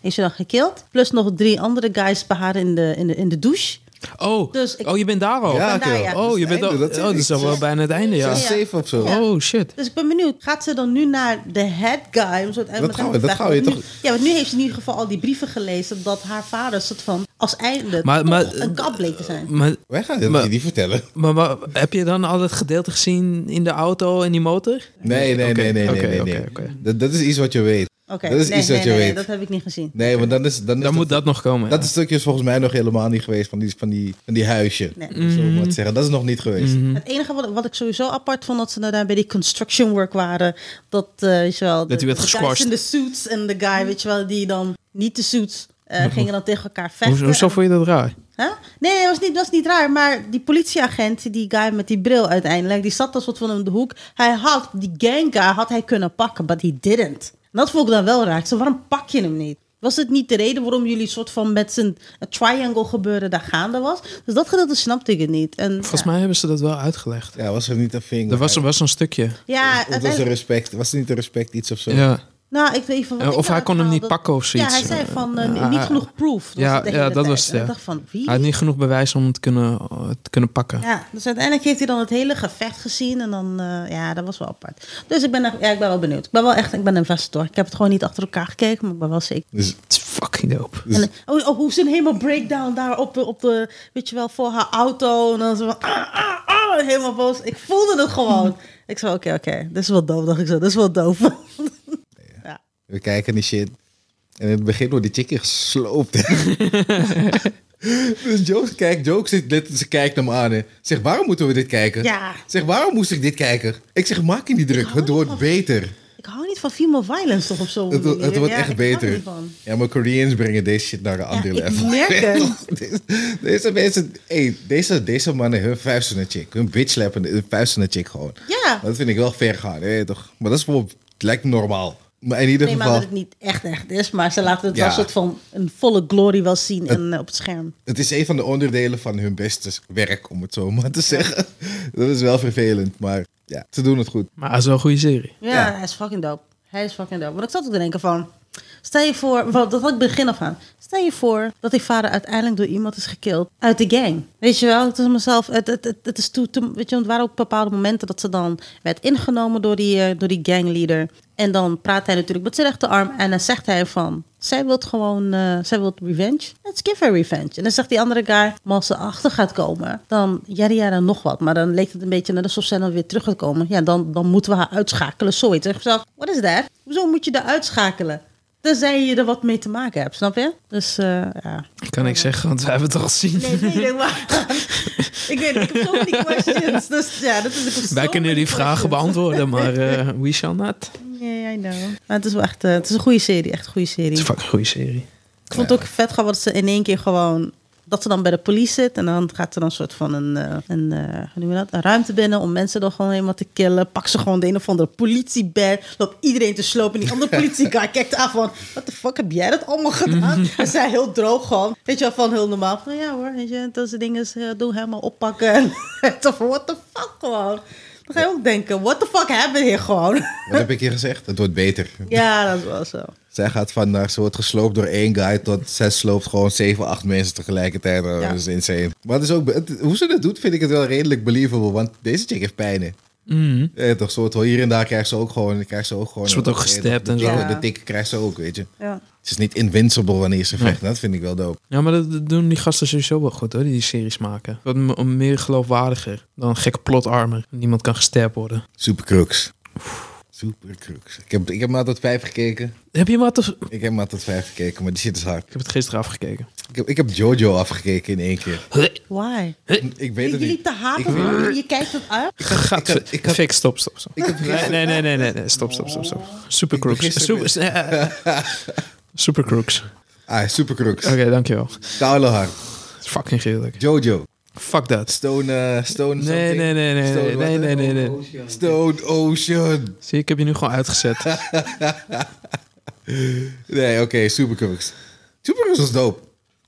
S1: heeft ze dan gekild. Plus nog drie andere guys bij haar in de, in de, in de douche.
S2: Oh,
S1: Dus ik-
S2: oh, je bent daar al.
S3: Ja,
S1: ben daar,
S3: oké.
S1: ja. dus-
S2: Oh, je
S3: het
S2: bent al.
S3: einde, dat zeg
S2: oh, dat
S3: ik.
S2: is al wel bijna het einde, ja.
S3: 6, 7 of zo.
S2: Oh shit.
S1: Dus ik ben benieuwd, gaat ze dan nu naar de head guy? eh, Om soort
S3: Dat gaan we- dat gaan we toch-
S1: Ja, want nu heeft ze in ieder geval al die brieven gelezen dat haar vader soort van als einde
S2: Maar-
S1: toch
S2: maar-
S1: een
S3: eh,
S1: kap bleek te zijn.
S2: Maar,
S3: Wij gaan dit
S2: Maar-
S3: niet vertellen.
S2: maar, maar heb je dan al dat gedeelte gezien in de auto en die motor?
S3: Nee, nee,
S2: Oké,
S3: nee, nee,
S2: oké,
S3: nee, nee.
S2: oké,
S3: nee.
S2: oké.
S3: Dat, dat is iets wat je weet.
S1: Oké,
S3: Dat is
S1: nee,
S3: iets
S1: nee,
S3: wat je
S1: nee,
S3: weet.
S1: dat heb ik niet gezien.
S3: Nee, want dan is, dan is
S2: Dan moet dat nog komen.
S3: dat
S2: ja.
S3: stukje is volgens mij nog helemaal niet geweest van die, van die, van die huisje.
S1: Nee.
S3: Om Zo
S2: Mhm.
S3: maar te zeggen. Dat is nog niet geweest.
S2: Hm.
S1: Het enige wat, wat ik sowieso apart vond, dat ze daar bij die construction work waren, dat, eh weet je wel, de-
S2: werd
S1: de guys
S2: gesquashed. Hm.
S1: in de suits en de guy, weet je wel, die dan niet de suits eh, gingen dan tegen elkaar vechten.
S2: Hoe, hoezo vond je dat raar?
S1: Huh? Nee, nee dat, was niet, dat was niet raar. Maar die politieagent, die guy met die bril uiteindelijk, die zat als soort van om de hoek. Hij had, die gang guy had hij kunnen pakken, but he didn't. En dat vond ik dan wel raar. Ik zei, waarom pak je hem niet? Was het niet de reden waarom jullie soort van met z'n een triangle gebeuren daar gaande was? Dus dat gedeelte snapte ik het niet. En,
S2: Volgens
S1: ja.
S2: mij hebben ze dat wel uitgelegd.
S3: Ja, was er niet een vinger.
S2: Er was, was een stukje.
S1: Ja,
S3: Of was er
S1: uiteindelijk-
S3: respect? Was er niet een respect iets of zo?
S2: Ja,
S1: nou, ik weet niet van wat
S2: Eh,
S1: ik
S2: of hij
S1: nou
S2: kon hem
S1: haal,
S2: niet
S1: dat-
S2: pakken of zoiets.
S1: Ja, hij zei van eh,
S2: Eh,
S1: niet
S2: eh,
S1: genoeg proof. was
S2: ja,
S1: het de hele
S2: ja, dat
S1: tijd.
S2: was het,
S1: En ik
S2: ja.
S1: dacht van, wie?
S2: hij had niet genoeg bewijs om het kunnen, het kunnen pakken.
S1: Ja, dus uiteindelijk heeft hij dan het hele gevecht gezien. En dan, eh, ja, dat was wel apart. Dus ik ben, echt- ja, ik ben wel benieuwd. Ik ben wel echt, ik ben investor. Ik heb het gewoon niet achter elkaar gekeken, maar ik ben wel zeker.
S3: Dus,
S2: Het is fucking dope.
S1: En, oh, oh, hoe ze een helemaal breakdown daar op, eh, op de, weet je wel, voor haar auto. En dan zo van, ah, ah, ah, en helemaal boos. Ik
S2: [laughs]
S1: voelde het gewoon. ik zei, oké, oké, dit is wel doof, dacht ik zo. Dit is wel doof. [laughs] ja.
S3: We kijken die shit. En in het begin wordt die chickie gesloopt. [laughs] dus Joe kijkt, Joe zit, let- ze kijkt hem aan. en Zegt, waarom moeten we dit kijken?
S1: Ja.
S3: Zeg, waarom moest ik dit kijken? Ik zeg, maak je niet druk. Het
S1: Oh.
S3: wordt beter.
S1: Ik hou niet van female violence toch op zo'n
S3: Het, wo-
S1: manier.
S3: het wordt
S1: Ja,
S3: echt
S1: ik hou er
S3: beter.
S1: niet van.
S3: Ja, maar Koreans brengen deze shit naar een ander
S1: ik
S3: level. [laughs]
S1: merk het.
S3: deze, deze mensen, hey, deze, deze mannen, hun vuisten naar chick. Hun bitch slappen, hun vuisten naar chick gewoon.
S1: Ja.
S3: Dat vind ik wel ver gaan, hè, toch? Maar dat is bijvoorbeeld, het lijkt me normaal. Maar in ieder
S1: Nee, maar
S3: geval,
S1: dat het niet echt echt is. Maar ze laten het
S3: Ja.
S1: wel soort van een volle glory wel zien en, eh, op het scherm.
S3: het is een van de onderdelen van hun beste werk, om het zo maar te zeggen. Dat is wel vervelend, maar ja, ze doen het goed.
S2: Maar het is wel een goede serie.
S1: Ja,
S3: Ja.
S1: hij is fucking dope. Hij is fucking dope. Want ik zat ook te denken van... Stel je voor... want dat had ik begin af aan. Stel je voor dat die vader uiteindelijk door iemand is gekild uit de gang. Weet je wel? Toen mezelf... Het, het, het, het is toe, toe- weet je, want er waren ook bepaalde momenten dat ze dan werd ingenomen door die, eh, door die gangleader. En dan praat hij natuurlijk met zijn rechterarm. En dan zegt hij van... Zij wil gewoon... eh, zij wil revenge. Let's give her revenge. En dan zegt die andere guy... Maar als ze achter gaat komen... Dan... Jari jara nog wat. Maar dan leek het een beetje naar de ze dan weer terug gaat komen. Ja, dan, dan moeten we haar uitschakelen. Zoiets. Ik zelf, what is that? Hoezo moet je haar uitschakelen? Tenzij je er wat mee te maken hebt, snap je? Dus eh, ja.
S2: Kan ik zeggen, want we hebben het al gezien.
S1: Nee, nee, nee, maar. [laughs] ik weet niet, ik heb zoveel die questions. Dus ja, dat is ik
S2: Wij kunnen die vragen beantwoorden, maar eh we shall not.
S1: Yeah, I know. Maar het is wel echt eh, het is een goede serie, echt een goede
S2: Het is
S1: serie.
S2: een fucking goede serie.
S1: Ik vond het ook vet gewoon dat ze in één keer gewoon... Dat ze dan bij de police zit en dan gaat er dan een soort van een, eh, een, eh, hoe noem je dat? een ruimte binnen om mensen dan gewoon helemaal te killen. Pak ze gewoon de een of andere politiebed. Loopt iedereen te slopen. En die
S3: [laughs]
S1: andere politieguy kijkt aan van, what the fuck heb jij dat allemaal
S3: [laughs]
S1: gedaan? En zij heel droog gewoon. Weet je wel, van heel normaal. Van ja hoor, weet je, dat soort dingen eh, doe helemaal oppakken. [laughs] En toch van, what the fuck gewoon. Dan ga je ook denken, what the fuck hebben we hier gewoon? [laughs]
S3: Wat heb ik hier gezegd? Het wordt beter.
S1: ja, dat is wel zo.
S3: Zij gaat van, eh, ze wordt gesloopt door één guy tot zij sloopt gewoon zeven, acht mensen tegelijkertijd. Eh,
S1: Ja.
S3: Dat is insane. Maar het is ook, het- hoe ze dat doet vind ik het wel redelijk believable, want deze chick heeft pijn. hè.
S2: Mhm.
S3: Eh, toch soort hoor, hier en daar krijgt ze ook gewoon, krijgt ze ook gewoon.
S2: Ze wordt ook
S3: eh,
S2: gestapt en
S3: de-
S1: zo.
S3: de-
S1: Ja.
S3: De dikke krijgt ze ook, weet je.
S1: Ja.
S3: Het is niet invincible wanneer ze vecht. Dat vind ik wel dope.
S2: Ja, maar dat dat doen die gasten sowieso wel goed hoor, die die series maken. Wat me- meer geloofwaardiger dan gekke plotarmer. Niemand kan gestapt worden.
S3: Supercrux. Supercrux. Ik heb, ik heb maar tot vijf gekeken.
S2: Heb je maar te-
S3: Ik heb maar tot vijf gekeken, maar die shit is hard.
S2: Ik heb het gisteren afgekeken.
S3: Ik heb, ik heb Jojo afgekeken in één keer.
S1: Why?
S3: Ik weet
S1: Jullie
S3: het niet.
S1: te haten, van, je kijkt het uit.
S2: Gaat,
S3: had- ik had-
S2: Fik, stop, stop, stop.
S3: Ik heb
S2: Nee, nee, nee, nee, nee, nee, stop, stop, stop, stop. Super
S3: Ik
S2: crooks.
S3: begin
S2: Super, [laughs] super crooks.
S3: Ah, Supercrux.
S2: Oké, dankjewel.
S3: Koude hard.
S2: Fucking gruwelijk.
S3: Jojo.
S2: Fuck dat.
S3: Stone, eh, Stone
S2: Nee,
S3: something.
S2: nee, nee, nee,
S3: Stone
S2: nee,
S3: wat?
S2: nee, nee, nee, nee.
S3: Stone Ocean.
S2: Zie, ik heb je nu gewoon
S3: [laughs]
S2: uitgezet.
S3: Nee, oké, Supercrux. Supercrux was dope.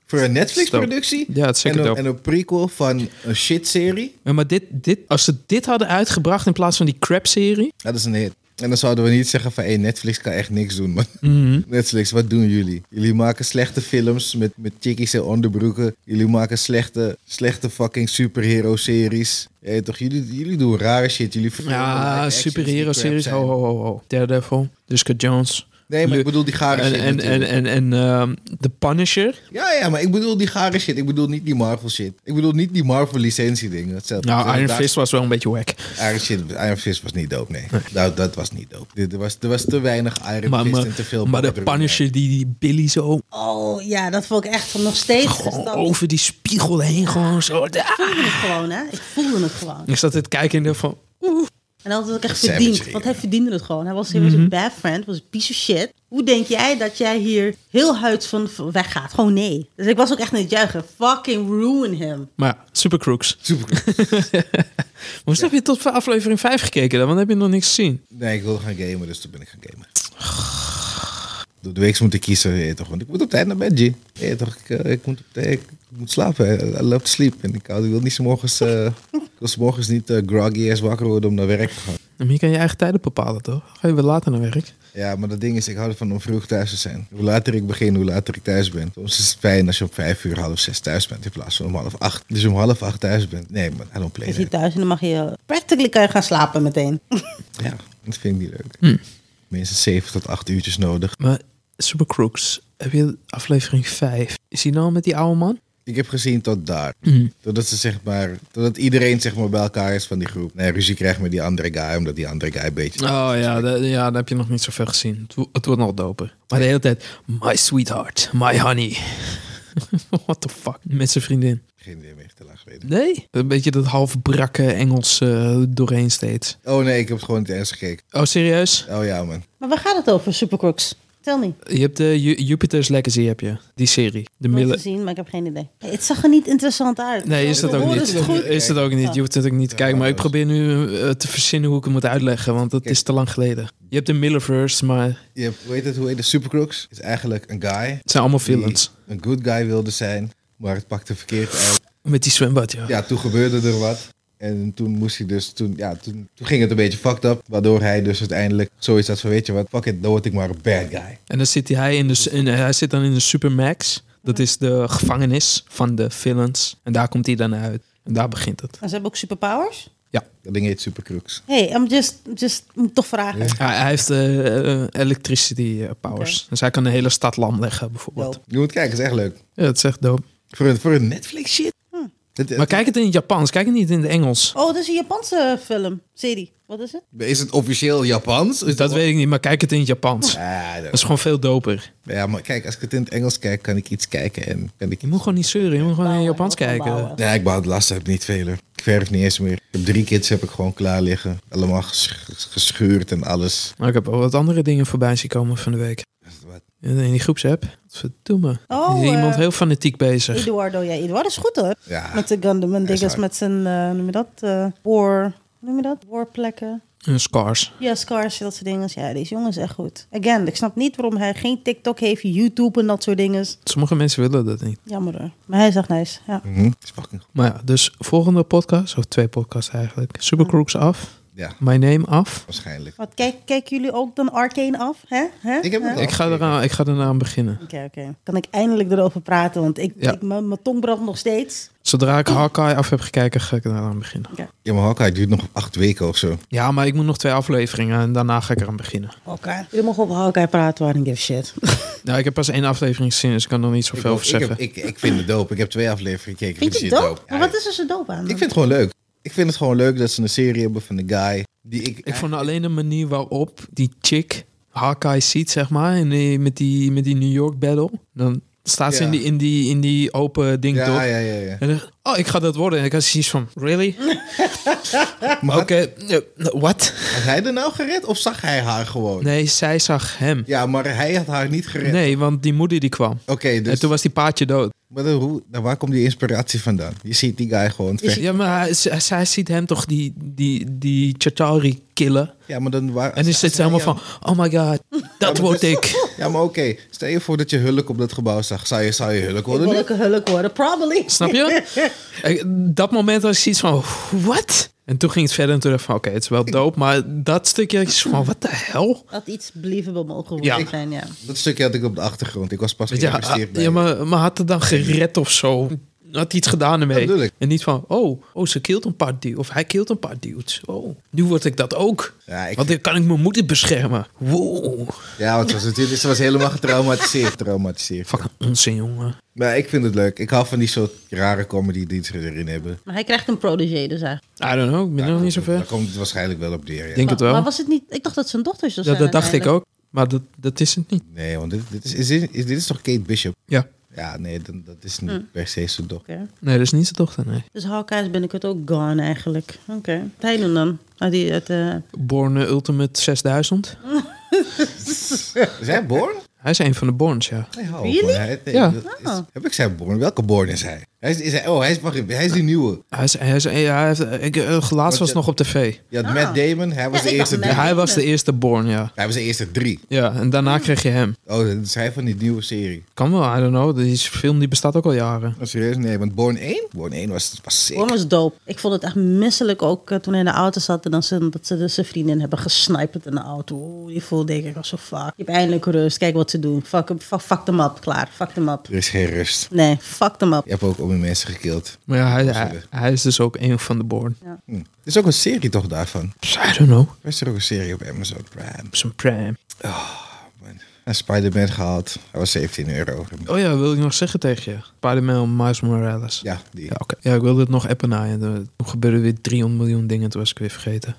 S3: Voor een Netflix-productie.
S2: Ja, het is zeker
S3: en een,
S2: dope.
S3: En een prequel van een shit-serie.
S2: Ja, maar dit, dit, als ze dit hadden uitgebracht in plaats van die crap-serie...
S3: Dat is een hit. En dan zouden we niet zeggen van, hey, Netflix kan echt niks doen, man.
S2: Mhm.
S3: Netflix, wat doen jullie? Jullie maken slechte films met, met chickies en onderbroeken. Jullie maken slechte, slechte fucking superhero-series. Hey, toch, jullie, jullie doen rare shit. Jullie verfilmen live
S2: Ja,
S3: actions die
S2: superhero-series.
S3: crap zijn.
S2: Ho, ho, ho, ho. Daredevil, Jessica Jones.
S3: Nee, maar ik
S2: Lu-
S3: bedoel die gare
S2: En,
S3: shit
S2: en, en,
S3: natuurlijk.
S2: en, en ehm, The Punisher.
S3: Ja, ja, maar ik bedoel die gare shit. Ik bedoel niet die Marvel shit. Ik bedoel niet die Marvel licentie dingen. Hetzelfde.
S2: Nou, Iron
S3: Daar-
S2: Fist was wel een beetje whack.
S3: Iron, shit, Iron Fist was niet dope, nee. Dat, dat was niet dope. Er was, er was te weinig Iron
S2: Maar,
S3: Fist
S2: maar,
S3: en te veel...
S2: maar de
S3: bloed.
S2: Punisher, die, die Billy zo
S1: Oh ja, dat vond ik echt van nog steeds. Dus
S2: gewoon
S1: dat-
S2: over die spiegel heen gewoon zo.
S1: Ik voelde het gewoon, hè? Ik voelde het gewoon.
S2: Ik zat dit kijken en dacht van...
S1: En dat had ik echt
S3: Savage
S1: verdiend.
S3: hier.
S1: Want hij verdiende het gewoon. Hij was serieus
S2: Mhm.
S1: een bad friend, was een piece of shit. Hoe denk jij dat jij hier heel huid van van weggaat? Gewoon nee. Dus ik was ook echt aan het juichen. Fucking ruin him.
S2: Maar ja, super crooks.
S3: Super.
S2: Hoezo heb je tot aflevering 5 gekeken dan? Want dan heb je nog niks gezien.
S3: Nee, ik wilde gaan gamen, dus toen ben ik gaan gamen. Door de week moet ik kiezen, weet je toch? Want ik moet op tijd naar bed, G. Weet je toch? Ik, eh, ik, moet, op tijd- ik moet slapen. hè. I love to sleep. En ik, hou- ik wil niet 's morgens, eh, ik wil 's morgens niet eh, groggy ass wakker worden om naar werk te gaan.
S2: Maar je kan je eigen tijden bepalen, toch? Ga je weer later naar werk?
S3: Ja, maar dat ding is, ik hou ervan om vroeg thuis te zijn. Hoe later ik begin, hoe later ik thuis ben. Soms is het fijn als je om vijf uur, half zes thuis bent in plaats van om half acht. Dus om half acht thuis bent. Nee, man, I don't play
S1: Is hij
S3: that.
S1: thuis en dan mag je eh, practically kan je gaan slapen meteen.
S3: Ja, dat vind ik niet leuk. Minstens zeven tot acht uurtjes nodig.
S2: Maar Super Crooks, heb je aflevering 5? Is hij nou met die oude man?
S3: ik heb gezien tot daar.
S2: Mhm.
S3: Totdat ze zeg maar, totdat iedereen zeg maar bij elkaar is van die groep. Nee, ruzie krijgt met die andere guy, omdat die andere guy een beetje...
S2: Oh ja, da- ja, daar heb je nog niet zoveel gezien. Het, wo- het wordt nog doper. Maar de hele tijd, my sweetheart, my honey. [laughs] What the fuck? Met zijn vriendin.
S3: Geen idee meer, te lang geleden.
S2: Nee? Een beetje dat half brakke Engels eh, doorheen steeds.
S3: Oh nee, ik heb het gewoon niet eens gekeken.
S2: Oh, serieus?
S3: Oh ja man.
S1: Maar waar gaat het over, Supercrooks? Tel niet.
S2: Je hebt de Ju- Jupiter's Legacy, heb je. Die serie. De
S1: Nooit
S2: Miller...
S1: gezien, maar ik heb geen idee. Hey, het zag er niet interessant uit.
S2: Nee, is Oh, dat ook
S1: Horen
S2: niet.
S1: ze het goed?
S2: Is dat ook niet. Je hoeft het ook niet te kijken. Maar ik probeer nu eh, te verzinnen hoe ik het moet uitleggen. Want dat is te lang geleden. Je hebt de Millerverse, maar het
S3: Je hebt, hoe heet het, hoe heet de Supercrooks? Is eigenlijk een guy
S2: zijn allemaal
S3: die
S2: villains.
S3: een good guy wilde zijn, maar het pakte verkeerd uit.
S2: Met die zwembad, ja.
S3: Ja, toen gebeurde er wat. En toen moest hij dus, toen, ja, toen, toen ging het een beetje fucked up. Waardoor hij dus uiteindelijk zoiets had van, weet je wat, fuck it, dan word ik maar een bad guy.
S2: En dan zit hij, in de, in- hij zit dan in de Supermax. Dat is de gevangenis van de villains. En daar komt hij dan uit. En daar begint het.
S1: En ze hebben ook superpowers?
S3: Dat ding heet Supercrooks.
S1: Hey, I'm just, just moet toch vragen.
S2: Hij, hij heeft eh, eh, electricity eh, powers. Dus hij kan de hele stad lam leggen, bijvoorbeeld.
S1: Dope.
S3: Je moet kijken, is echt leuk.
S2: Ja, dat is echt dope.
S3: Voor een, voor een Netflix shit. Het- het-
S2: Hm. Maar kijk het in het Japans. Kijk het niet in het Engels.
S1: Oh, dat is een Japanse film, serie. Wat is het?
S3: is het officieel Japans? Is
S2: Dus Dat weet ik niet, maar kijk het in het Japans.
S3: Ja,
S2: Dat is gewoon veel doper.
S3: ja, maar kijk, als ik het in het Engels kijk, kan ik iets kijken en kan ik...
S2: Je moet gewoon niet zeuren. Je moet gewoon in het Japans
S1: Bouwen,
S2: kijken.
S1: bouwen.
S3: Nee, ik behoud last heb niet veel. hoor. Ik verf niet eens meer. Ik heb drie kids heb ik gewoon klaar liggen. Allemaal ges- geschuurd en alles.
S2: Maar ik heb wel wat andere dingen voorbij zien komen van de week.
S3: Wat?
S2: In in die groepsapp. Verdomme.
S1: Oh,
S2: Er is iemand
S1: eh,
S2: heel fanatiek bezig.
S1: Eduardo, ja, Eduardo is goed hoor.
S3: Ja,
S1: Met de Gundam en
S3: Hij is
S1: dinges,
S3: hard.
S1: met zijn, eh noem je dat, eh war, hoe noem je dat? Warplekken.
S2: Een scars.
S1: Ja, scars, dat soort dingen. Ja, deze jongen is echt goed. Again, ik snap niet waarom hij geen TikTok heeft, YouTube en dat soort dingen.
S2: Sommige mensen willen dat niet.
S1: Jammer hoor. Maar hij is echt nice, ja.
S3: Mhm. is fucking goed.
S2: Maar ja, dus volgende podcast, of twee podcasts eigenlijk. Supercrooks af,
S3: Ja,
S2: My Name af.
S3: waarschijnlijk.
S1: Wat, kijk, kijken jullie ook dan Arcane af? Hè? Hè?
S3: Ik heb het
S1: Hè?
S3: al.
S2: Ik ga, eraan, ik ga eraan beginnen.
S1: Oké, oké. Kan ik eindelijk erover praten, want ik,
S2: Ja.
S1: ik, mijn mijn tong brandt nog steeds.
S2: Zodra ik Hawkeye af heb gekeken, ga ik eraan beginnen.
S3: Ja, maar Hawkeye duurt nog acht weken of zo.
S2: Ja, maar ik moet nog twee afleveringen en daarna ga ik eraan beginnen.
S1: Oké. Jullie mogen over Hawkeye praten, I don't give a shit.
S2: Nou, ik heb pas één aflevering gezien, dus ik kan er niet zoveel
S3: ik,
S2: over zeggen.
S3: heb- ik, ik vind het dope. Ik heb twee afleveringen gekeken.
S1: Vind je het
S3: shit
S1: dope?
S3: Ja,
S1: Maar wat is er zo dope aan?
S3: Ik
S1: dan?
S3: vind het gewoon leuk. Ik vind het gewoon leuk dat ze een serie hebben van de guy die ik...
S2: Ik vond alleen de manier waarop die chick Hawkeye ziet, zeg maar, en die, met, die, met die New York battle. Dan staat ze
S3: Ja.
S2: in, die, in, die, in die open ding
S3: ja,
S2: door.
S3: ja, ja, ja.
S2: En dan, oh, ik ga dat worden. En ik had zoiets van, [laughs] really?
S3: Maar
S2: Oké, eh, what?
S3: had hij er nou gered of zag hij haar gewoon?
S2: Nee, zij zag hem.
S3: Ja, maar hij had haar niet gered.
S2: Nee, want die moeder die kwam.
S3: Oké,
S2: En
S3: dus
S2: toen was die paardje dood.
S3: maar dan hoe, dan waar komt die inspiratie vandaan? Je ziet die guy gewoon vechten.
S2: Ja, maar hij- z- zij ziet hem toch die, die, die Chitauri killen.
S3: Ja, maar dan waar...
S2: En dan zit ze helemaal van, oh my god, dat word ik.
S3: Ja, maar oké. Stel je voor dat je Hulk op dat gebouw zag. Zou je, zou je Hulk
S1: Ik
S3: worden
S1: wil
S3: nu?
S1: ook een hulk worden, probably.
S2: Snap [laughs] je? Eh, Dat moment was ik iets van, wat? En toen ging het verder en toen dacht ik van, oké, het is wel dope. Maar dat stukje is van, wat de hel?
S1: Had iets believable mogen
S2: Ja.
S1: worden zijn, ja.
S3: Dat stukje had ik op de achtergrond. Ik was pas
S2: Weet je, ah,
S3: geïnvesteerd bij
S2: ja, maar, maar had het dan gered of zo? Had hij iets gedaan
S3: Dat bedoel
S2: ermee?
S3: ik.
S2: En niet van, oh, oh, ze kilt een paar dudes. Of hij kilt een paar dudes. Oh, nu word ik dat ook.
S3: Ja, ik
S2: Want dan kan ik mijn moeder beschermen. Wow.
S3: Ja, want ze was natuurlijk ze was helemaal getraumatiseerd. [laughs] traumatiseerd.
S2: Fucking onzin, jongen.
S3: Maar ik vind het leuk. Ik hou van die soort rare comedy die ze erin hebben.
S1: Maar hij krijgt een protégé dus eigenlijk.
S2: I don't know, ik ben er nog niet zover.
S3: Daar komt het waarschijnlijk wel op neer. ja.
S2: denk het
S1: Maar
S2: wel.
S1: was het niet... Ik dacht dat zijn dochters dus
S2: Dat,
S1: zijn
S2: dat dacht ik
S1: uiteindelijk.
S2: ook. Maar dat, dat is het niet.
S3: Nee, want dit, dit, is, is, dit- is- dit is toch Kate Bishop?
S2: Ja.
S3: Ja, nee, dan, dat is niet per se zijn dochter.
S1: Oké.
S2: Nee, dat is niet zijn dochter, nee.
S1: Dus Hawkeye is binnenkort ook gone eigenlijk. Oké. Wat hij doen dan? Ah, die, het, eh,
S2: Born eh, Ultimate 6000.
S3: Is hij Born?
S2: Hij is een van de Borns, ja.
S3: Nee, hou
S1: Really?
S3: op, man. Hij- nee,
S2: Ja.
S3: dat is-
S1: Oh.
S3: heb ik zijn Born? Welke Born is hij? hij, is, is hij oh, hij is, wacht, even, hij is die nieuwe.
S2: Hij is, hij is, hij heeft, ik, eh, laatst was
S3: je-
S2: nog op tv.
S3: Je had Matt Damon, hij was
S1: Ah. Ja, ik
S3: de
S1: dacht
S3: eerste
S1: Matt.
S3: drie.
S2: Hij was de eerste Born, ja.
S3: Hij was de eerste drie.
S2: Ja, en
S1: Ah.
S2: daarna kreeg je hem.
S3: Oh, dat is hij van die nieuwe serie.
S2: Kan wel, I don't know. Die film die bestaat ook al jaren.
S3: Oh, serieus? Nee, want Born 1? Born 1 was, was sick.
S1: Gewoon was dope. Ik vond het echt misselijk ook eh, toen hij in de auto zat en dan ze, dat ze dus zijn vriendin hebben gesniperd in de auto. Oeh, die voelde ik, ik was zo fuck. Je hebt eindelijk rust, kijk wat ze doen. Fuck, hem- fuck, fuck them up, klaar. Fuck them up.
S3: Er is geen rust.
S1: Nee, fuck them up.
S3: Je hebt ook om je mensen gekild.
S2: Maar ja, hij, hij,
S3: Sorry.
S2: hij is dus ook een van de Born.
S3: Hm. Er is ook een serie toch daarvan?
S2: Dus I don't know.
S3: Er is er ook een serie op Amazon Prime.
S2: Zijn prime.
S3: Man, En Spider-Man gehaald. Hij was 17 euro.
S2: Oh ja, wil ik nog zeggen tegen je. Spider-Man Miles Morales.
S3: Ja, die.
S2: Ja, oké. Ja, ik wilde het nog appen na. en er- Toen gebeurde weer 300 miljoen dingen. Toen was ik weer vergeten.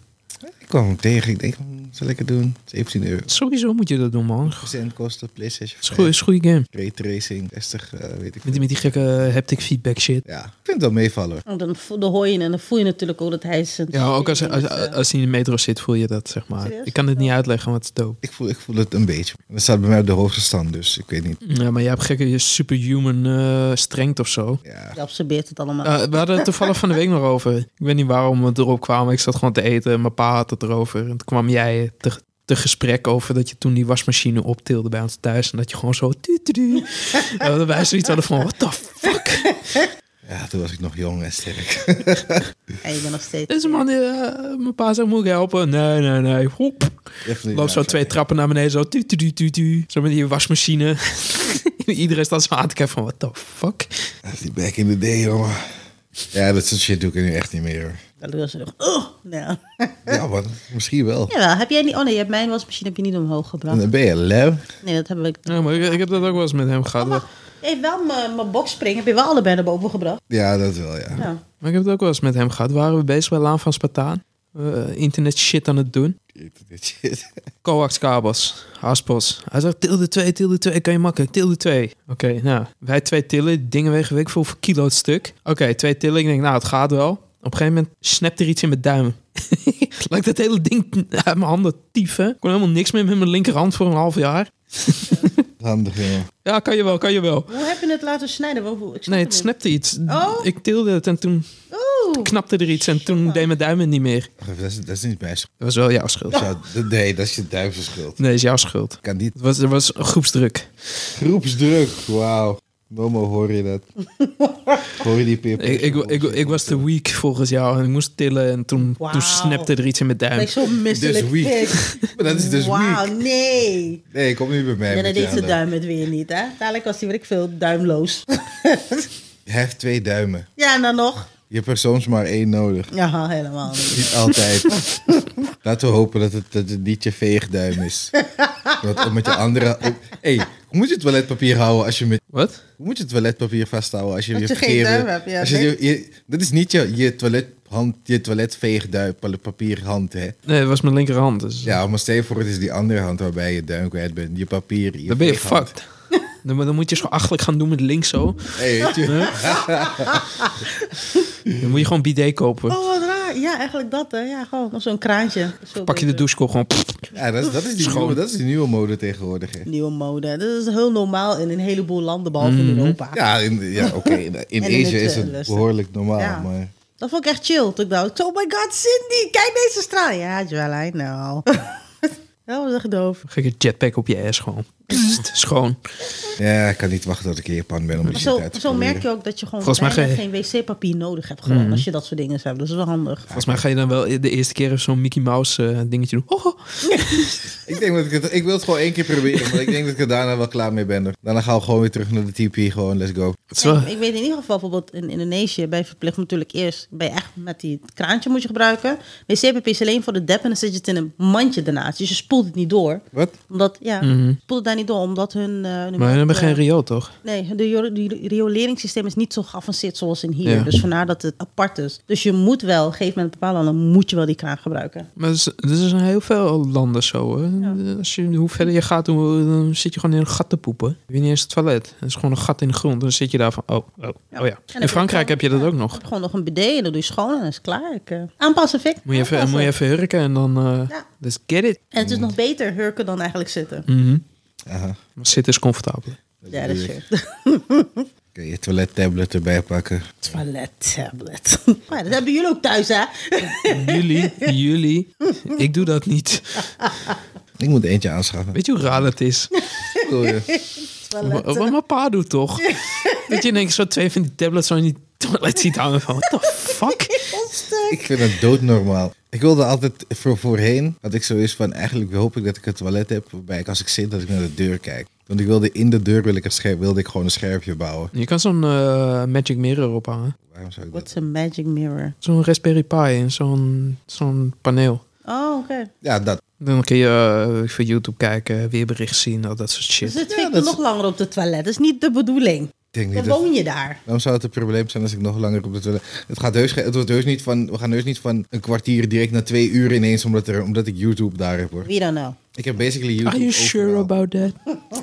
S3: Ik kwam hem tegen. Ik denk, hmm, zal ik het doen? 17 euro.
S2: Sowieso moet je dat doen, man. Het
S3: 100% kosten, PlayStation
S2: is goe-
S3: 5,
S2: is een goede game.
S3: Ray Tracing, 60, eh, weet ik
S2: Met die, met die gekke eh, haptic feedback shit.
S3: Ja, ik vind het wel meevallen hoor.
S1: Oh, dan, vo- dan hoor je het en dan voel je natuurlijk ook dat hij zijn...
S2: Ja, ook als, als,
S1: zijn-
S2: als, hij in de metro zit, voel je dat, zeg maar.
S1: Serieus?
S2: Ik kan het niet uitleggen, want het is dope.
S3: Ik voel, ik voel het een beetje. En dat staat bij mij op de hoogste stand, dus ik weet niet.
S2: Ja, maar jij hebt gekke je superhuman eh strength of zo.
S3: Ja,
S1: Je absorbeert het allemaal.
S2: Eh, we hadden het toevallig van de week nog over. Ik weet niet waarom we erop kwamen. Ik zat gewoon te eten en mijn pa had het erover. En toen kwam jij te, te gesprek over dat je toen die wasmachine optilde bij ons thuis. En dat je gewoon zo... tu, tu, tu. En dat wij zoiets hadden van, what the fuck?
S3: ja toen was ik nog jong en sterk.
S1: En je bent nog steeds...
S2: Deze man, die, eh, mijn pa zei, moet ik helpen? Nee, nee, nee. Hop. Loopt zo twee trappen naar beneden, zo... Tu, tu, tu, tu, tu. Zo met die wasmachine. Iedereen staat zo aan te kijken van, what the fuck?
S3: Dat is die back in the day, jongen. Ja, dat soort shit doe ik nu echt niet meer hoor.
S1: Dan doen ze nog... Oh, nou.
S3: Ja, man, misschien wel.
S1: Jawel, heb jij niet... Oh nee, je hebt mijn wasmachine heb je niet omhoog
S3: En
S1: gebracht.
S3: dan ben je lem.
S1: Nee, dat hebben we...
S2: Ja, maar ik, ik heb dat ook wel eens met hem gehad.
S1: Maar je hebt wel mijn mijn boxspring, heb je wel allebei naar boven gebracht. Nou,
S3: Ja, dat wel, ja.
S1: Ja.
S2: Maar ik heb het ook wel eens met hem gehad. Waren we bezig bij Laan van Spartaan? Eh, internet shit aan het doen.
S3: Dit shit.
S2: Coaxkabels, haspels. Hij zegt, tilde 2, tilde 2, kan je makkelijk, tilde 2. Oké, nou, wij twee tillen, dingen wegen weet ik veel voor kilo het stuk. Oké, twee tillen, ik denk, nou, het gaat wel. Op een gegeven moment snapt er iets in mijn duim. [laughs] Laat ik dat hele ding uit mijn handen tieven. Ik kon helemaal niks meer met mijn linkerhand voor een half jaar.
S3: Handig, jongen.
S2: Ja, kan je wel, kan je wel.
S1: Hoe heb je het laten snijden? Wat- hoe- Ik snap
S2: Nee, het
S1: niet.
S2: snapte iets.
S1: Oh.
S2: Ik tilde het en toen
S1: Oeh.
S2: knapte er iets en toen deed mijn duim het niet meer.
S3: Wacht even, Dat is, dat is niet mijn schuld.
S2: Dat was wel jouw schuld.
S3: Zou- dat- Nee, dat is je duivelse schuld.
S2: Nee, is jouw schuld.
S3: Ik kan niet.
S2: Het was, het was groepsdruk.
S3: Groepsdruk, wauw. Momo, hoor je dat? hoor je die pip?
S2: Ik, ik, ik, ik was te weak volgens jou en ik moest tillen en toen,
S1: Wauw.
S2: toen snapte er iets in mijn
S1: Ben
S2: duim.
S1: ik zo misselijk.
S3: dus weak.
S1: pik.
S3: Maar dat is dus
S1: Wauw,
S3: weak.
S1: nee.
S3: Nee, kom nu bij mij.
S1: En
S3: met
S1: dan
S3: die
S1: deed zijn
S3: andere.
S1: duim het weer niet, hè? Dadelijk was hij, weet ik veel, duimloos.
S3: Je hebt twee duimen.
S1: ja, en dan nog?
S3: Je hebt er soms maar één nodig.
S1: Ja, helemaal niet.
S3: Niet
S1: [laughs]
S3: altijd. Laten we hopen dat het, dat het niet je veegduim is. Want om met je andere... Hé, hey, hoe moet je toiletpapier houden als je met...
S2: Wat?
S3: Hoe moet je toiletpapier vasthouden als je
S1: Als
S3: je
S1: je geen
S3: verkeerde-
S1: duim hebt, ja,
S3: als je, je, je- dat is niet je, je toilethand, je toiletveegduim, papierhand, hè.
S2: Nee, het was mijn linkerhand. Dus
S3: Ja, maar stel je voor, het is die andere hand waarbij je duim kwijt bent. Je papier, je
S2: dan ben je
S3: veeghand.
S2: fucked. [laughs] dan, dan moet je zo achterlijk gaan doen met links zo.
S3: Hey, weet je,
S2: Dan moet je gewoon bidet kopen.
S1: Oh, wat raar. Ja, eigenlijk dat, hè? Ja, gewoon zo'n kraantje. Zo
S2: Pak je de douchekop gewoon. pff.
S3: Ja, dat is, dat, is die nieuwe, dat is die nieuwe mode tegenwoordig. hè.
S1: Nieuwe mode. Dat is heel normaal in een heleboel landen, behalve
S2: Mhm.
S1: in Europa.
S3: Ja, in, ja oké. In, in
S1: [laughs] En in
S3: Azië
S1: het,
S3: is
S1: eh,
S3: het
S1: Westen.
S3: behoorlijk normaal,
S1: Ja.
S3: maar...
S1: Dat vond ik echt chill. Toen ik dacht, oh my god, Cindy, kijk deze straal. Ja, Joel, I know. [laughs] dat was echt doof.
S2: Gekke jetpack op je ass gewoon. Pssst, schoon.
S3: Ja, ik kan niet wachten tot ik in Japan ben om die
S1: Maar
S3: shit
S1: zo,
S3: uit te
S1: zo merk
S3: proberen.
S1: je ook dat je gewoon
S2: Volgens mij Mhm.
S1: bijna
S2: geen-
S1: geen wc-papier nodig hebt. Gewoon, Als je dat soort dingen hebt. Dat is wel handig.
S2: Volgens mij ga je dan wel de eerste keer even zo'n Mickey Mouse eh, dingetje doen. Ho, ho.
S3: Ik denk dat ik het... Ik wil het gewoon één keer proberen, maar ik denk dat ik er daarna wel klaar mee ben. Daarna gaan we gewoon weer terug naar de TP, gewoon let's go.
S2: Het is wel-
S1: Ik weet in ieder geval bijvoorbeeld in Indonesië ben je verplicht natuurlijk eerst ben je echt met die het kraantje moet je gebruiken. Wc-papier is alleen voor de dep en dan zit je het in een mandje daarnaast. Dus je spoelt het niet door.
S3: Wat?
S1: Omdat, ja, spoelt het daar niet door. Omdat hun... eh, hun
S2: Mhm. Maar we hebben
S1: eh,
S2: geen riool, toch?
S1: Nee, de jo- die rioleringssysteem is niet zo geavanceerd zoals in hier.
S2: Ja.
S1: Dus vandaar dat het apart is. Dus je moet wel, op een gegeven moment bepalen, dan moet je wel die kraan gebruiken.
S2: Maar er is- er zijn heel veel landen zo. Hè? Als je, hoe verder je gaat, hoe, dan zit je gewoon in een gat te poepen. Je weet niet eens het toilet. Het is gewoon een gat in de grond. Dan zit je daar van, oh, oh, oh ja.
S1: heb
S2: In
S1: je
S2: Frankrijk
S1: gewoon-
S2: heb je dat ook nog.
S1: Ik heb gewoon nog een bidet en dan doe je schoon en dan is het klaar. Ik, eh, aanpassen, Vic.
S2: Moet je even,
S1: Aanpassen.
S2: moet je even hurken en dan... eh,
S1: Ja.
S2: Let's get it.
S1: En het is nog beter hurken dan eigenlijk zitten.
S2: Mhm.
S3: Aha.
S2: Maar zitten is comfortabel.
S1: Ja, dat is
S3: bedoel
S1: sure.
S3: Kun je toilettablet erbij pakken?
S1: [laughs] Toilet tablet. [laughs] Maar dat hebben jullie ook thuis, hè? [laughs]
S2: Jullie, jullie. Ik doe dat niet.
S3: Ik moet eentje aanschaffen.
S2: Weet je hoe raar dat is?
S3: Ik
S1: [laughs]
S3: bedoel, eh,
S2: Wat wat
S1: eh.
S2: mijn pa doet toch? Dat je ineens zo twee van die tablets zo in die toilet ziet hangen van... What the
S1: [laughs]
S2: fuck?
S3: Ik vind het doodnormaal. Ik wilde altijd voor voorheen, had ik zoiets van eigenlijk hoop ik dat ik een toilet heb waarbij ik als ik zit dat ik naar de deur kijk. Want ik wilde in de deur wil ik een scherp, wilde ik gewoon een scherpje bouwen.
S2: Je kan zo'n eh, magic mirror ophangen.
S3: Waarom zou ik dat?
S1: What's a magic mirror?
S2: Zo'n Raspberry Pi en zo'n zo'n paneel.
S1: Oh, oké.
S3: Ja, dat.
S2: Dan kun je eh, voor YouTube kijken, weerbericht zien, al dat soort
S1: Dus
S2: shit.
S1: het vind ik
S3: dat
S1: nog
S3: is-
S1: langer op de toilet. Dat is niet de bedoeling.
S3: Ik denk
S1: Dan
S3: niet dat...
S1: woon je daar.
S3: Waarom zou het een probleem zijn als ik nog langer op de toilet... Het, gaat heus, ge- het wordt heus niet van... We gaan heus niet van een kwartier direct naar twee uur ineens... omdat, er, omdat ik YouTube daar heb, hoor.
S1: We don't know.
S3: Ik heb basically YouTube
S2: Are you sure
S3: overal.
S2: about that?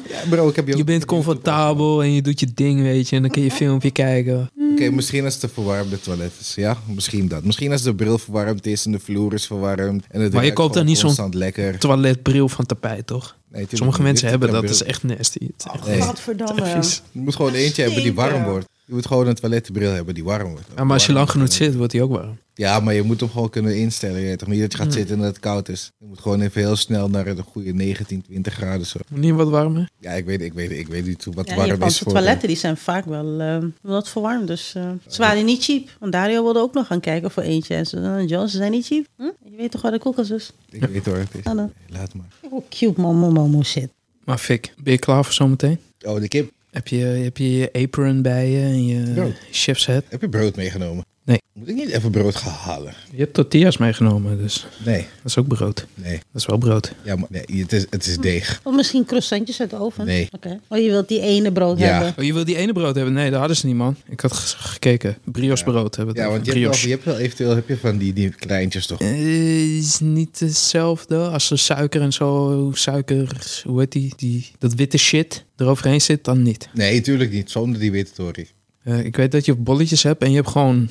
S3: Ja, bro, ik heb
S2: Je
S3: ook-
S2: bent comfortabel en je doet je ding, weet je. En dan kun je een filmpje kijken.
S3: Oké, misschien als het een verwarmde toilet is. Ja, misschien dat. Misschien als de bril verwarmd is en de vloer is verwarmd. En het
S2: Maar je
S3: ruikt
S2: koopt dan
S3: gewoon
S2: niet zo'n-
S3: constant lekker.
S2: Toiletbril van tapijt, toch?
S3: Nee, tuurlijk
S2: Sommige
S3: niet.
S2: mensen hebben
S3: Dit
S2: dat,
S3: is
S2: dat dus- is
S3: een
S2: echt nasty. Het is echt
S3: Nee.
S1: Godverdamme.
S2: vies.
S3: Je moet gewoon eentje hebben die warm
S1: Stinken.
S3: wordt. Je moet gewoon een toiletbril hebben die warm wordt.
S2: Ja, maar als je lang genoeg zit, wordt die ook warm.
S3: Ja, maar je moet hem gewoon kunnen instellen. Je weet toch niet dat je gaat zitten en dat het koud is. Je moet gewoon even heel snel naar een goede 19, 20 graden zo.
S2: Moet niet wat warmer?
S3: Ja, ik weet, ik weet, ik weet niet hoe- wat
S1: Ja,
S3: warm is
S1: Japanse
S3: voor...
S1: toiletten die zijn vaak wel eh, wat verwarmd. Dus eh, ze waren niet cheap. Want Dario wilde ook nog gaan kijken voor eentje. En ze eh, John, ze zijn niet cheap. Hm? Je weet toch waar de koelkast is?
S3: Ik weet waar het is.
S1: Hallo.
S3: Laat maar.
S1: Oh, cute mama momo shit.
S2: Maar Fik, ben je klaar voor zometeen?
S3: Oh, de kip.
S2: Heb je, heb je je apron bij je en je
S3: Ja.
S2: chef's hat?
S3: Heb je brood meegenomen?
S2: Nee.
S3: Moet ik niet even brood gaan halen?
S2: Je hebt tortillas meegenomen, dus
S3: Nee,
S2: dat is ook brood. Dat
S3: nee.
S2: is wel brood.
S3: Ja, maar nee, het is, het is deeg.
S1: Of misschien croissantjes uit de oven?
S3: Nee.
S1: Oké. Oh, je wilt die ene brood
S3: Ja.
S1: hebben?
S2: Oh, je wil die ene brood hebben? Nee, dat hadden ze niet, man. Ik had ge- gekeken. Brioche brood hebben we het
S3: Ja,
S2: over.
S3: want je hebt, wel,
S2: Brioche.
S3: je hebt wel eventueel heb je van die, die kleintjes toch?
S2: Eh, is niet hetzelfde als de suiker en zo. Suiker, hoe heet die? die dat witte shit eroverheen zit, dan niet.
S3: Nee, tuurlijk niet. Zonder die witte torie.
S2: Eh, ik weet dat je bolletjes hebt en je hebt gewoon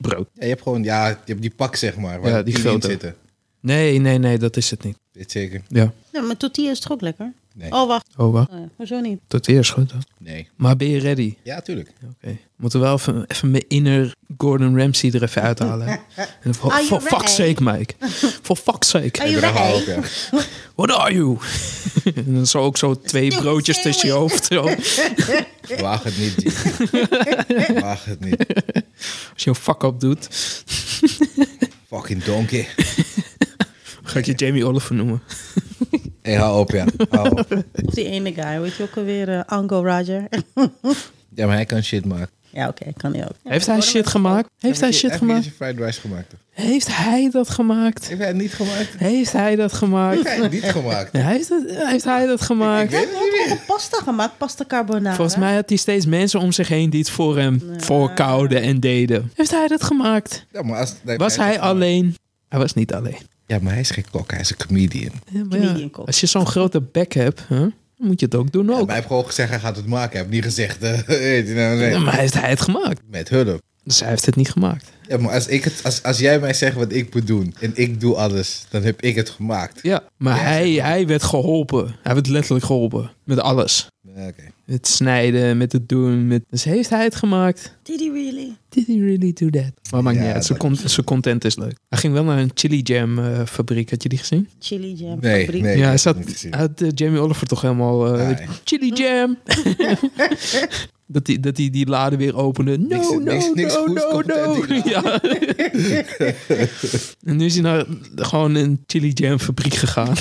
S2: brood.
S3: Ja, je hebt gewoon, ja, je hebt die pak zeg maar. Waar
S2: Ja,
S3: de
S2: die
S3: tien in
S2: grote.
S3: zitten.
S2: Nee, nee, nee, dat is het niet.
S3: Weet zeker?
S2: Ja.
S1: Nou, maar tortilla is toch ook lekker?
S3: Nee.
S1: Oh, wacht.
S2: Oh, wacht.
S1: Oh, ja. Hoezo niet?
S2: Dat eerst goed. hè?
S3: Nee.
S2: Maar ben je ready?
S3: Ja, tuurlijk.
S2: Oké. Moeten we wel even, even mijn inner Gordon Ramsay er even
S1: [laughs]
S2: uithalen. En voor
S1: Are you
S2: voor fuck's
S1: ready?
S2: sake, Mike. For fuck's
S1: Are
S2: sake.
S1: you
S3: Ik ben er
S1: ready?
S3: ook, ja.
S2: What are you? [laughs] en dan zo ook zo twee
S1: Still
S2: broodjes
S1: sailing.
S2: tussen je hoofd. zo.
S3: Waag het niet. Jim. [laughs] Waag het niet.
S2: Als je een fuck-up doet,
S3: Fucking donkey.
S2: ga ik je Jamie Oliver noemen.
S3: Hé, hou op, ja. Hou op.
S1: Of die ene guy, weet je ook alweer? eh, Uncle Roger. [laughs]
S3: Ja, maar hij kan shit maken.
S1: ja, oké, kan hij ook.
S2: Heeft hij shit gemaakt? Heeft hij shit gemaakt?
S3: Heeft fried rice gemaakt? toch?
S2: Heeft hij dat gemaakt?
S3: Heeft hij het niet gemaakt?
S2: Heeft hij dat
S3: Heeft
S2: gemaakt?
S3: hij het niet gemaakt?
S2: Nee, Heeft, het- heeft hij dat gemaakt?
S1: Hij heeft ook een pasta gemaakt, pasta carbonara.
S2: Volgens mij had hij steeds mensen om zich heen die het voor hem voorkouden en deden. Heeft hij dat gemaakt?
S3: Ja, maar als, nee,
S2: Was hij alleen? Hij was niet alleen.
S3: Ja, maar hij is geen kok, hij is een comedian.
S2: Ja, maar ja,
S1: Comedian kok.
S2: als je zo'n grote bek hebt, hè, dan moet je het ook doen
S3: Maar
S2: ook.
S3: hij heeft gewoon gezegd, hij gaat het maken. Hij heeft niet gezegd, [laughs] eh, weet je nou,
S2: Ja,
S3: nee.
S2: Maar heeft hij het gemaakt?
S3: met hulp.
S2: Dus hij heeft het niet gemaakt.
S3: Ja, maar als, ik het, als, als jij mij zegt wat ik moet doen en ik doe alles, dan heb ik het gemaakt.
S2: Ja, maar hij, hij werd geholpen. Hij werd letterlijk geholpen. Met alles.
S3: Ja, Oké.
S2: Het snijden, met het doen. Met... Dus heeft hij het gemaakt?
S1: Did he really?
S2: Did he really do that? Maar maakt
S3: Ja,
S2: niet uit. Zijn, con- zijn content is leuk. Hij ging wel naar een chili jam eh, fabriek. Had je die gezien?
S1: Chili jam.
S3: Nee,
S1: fabriek.
S3: nee.
S2: ja, hij
S3: ik
S2: zat,
S3: heb het niet gezien.
S2: hij had eh, Jamie Oliver toch helemaal... eh,
S3: Ah, ja.
S2: Chili jam! [laughs] dat hij dat die, die lade weer opende. No,
S3: Niks-
S2: no,
S3: niks- niks
S2: no,
S3: goeds
S2: no,
S3: komt uit
S2: no.
S3: die
S2: [laughs] Ja. en nu is hij naar gewoon een chili jam fabriek gegaan.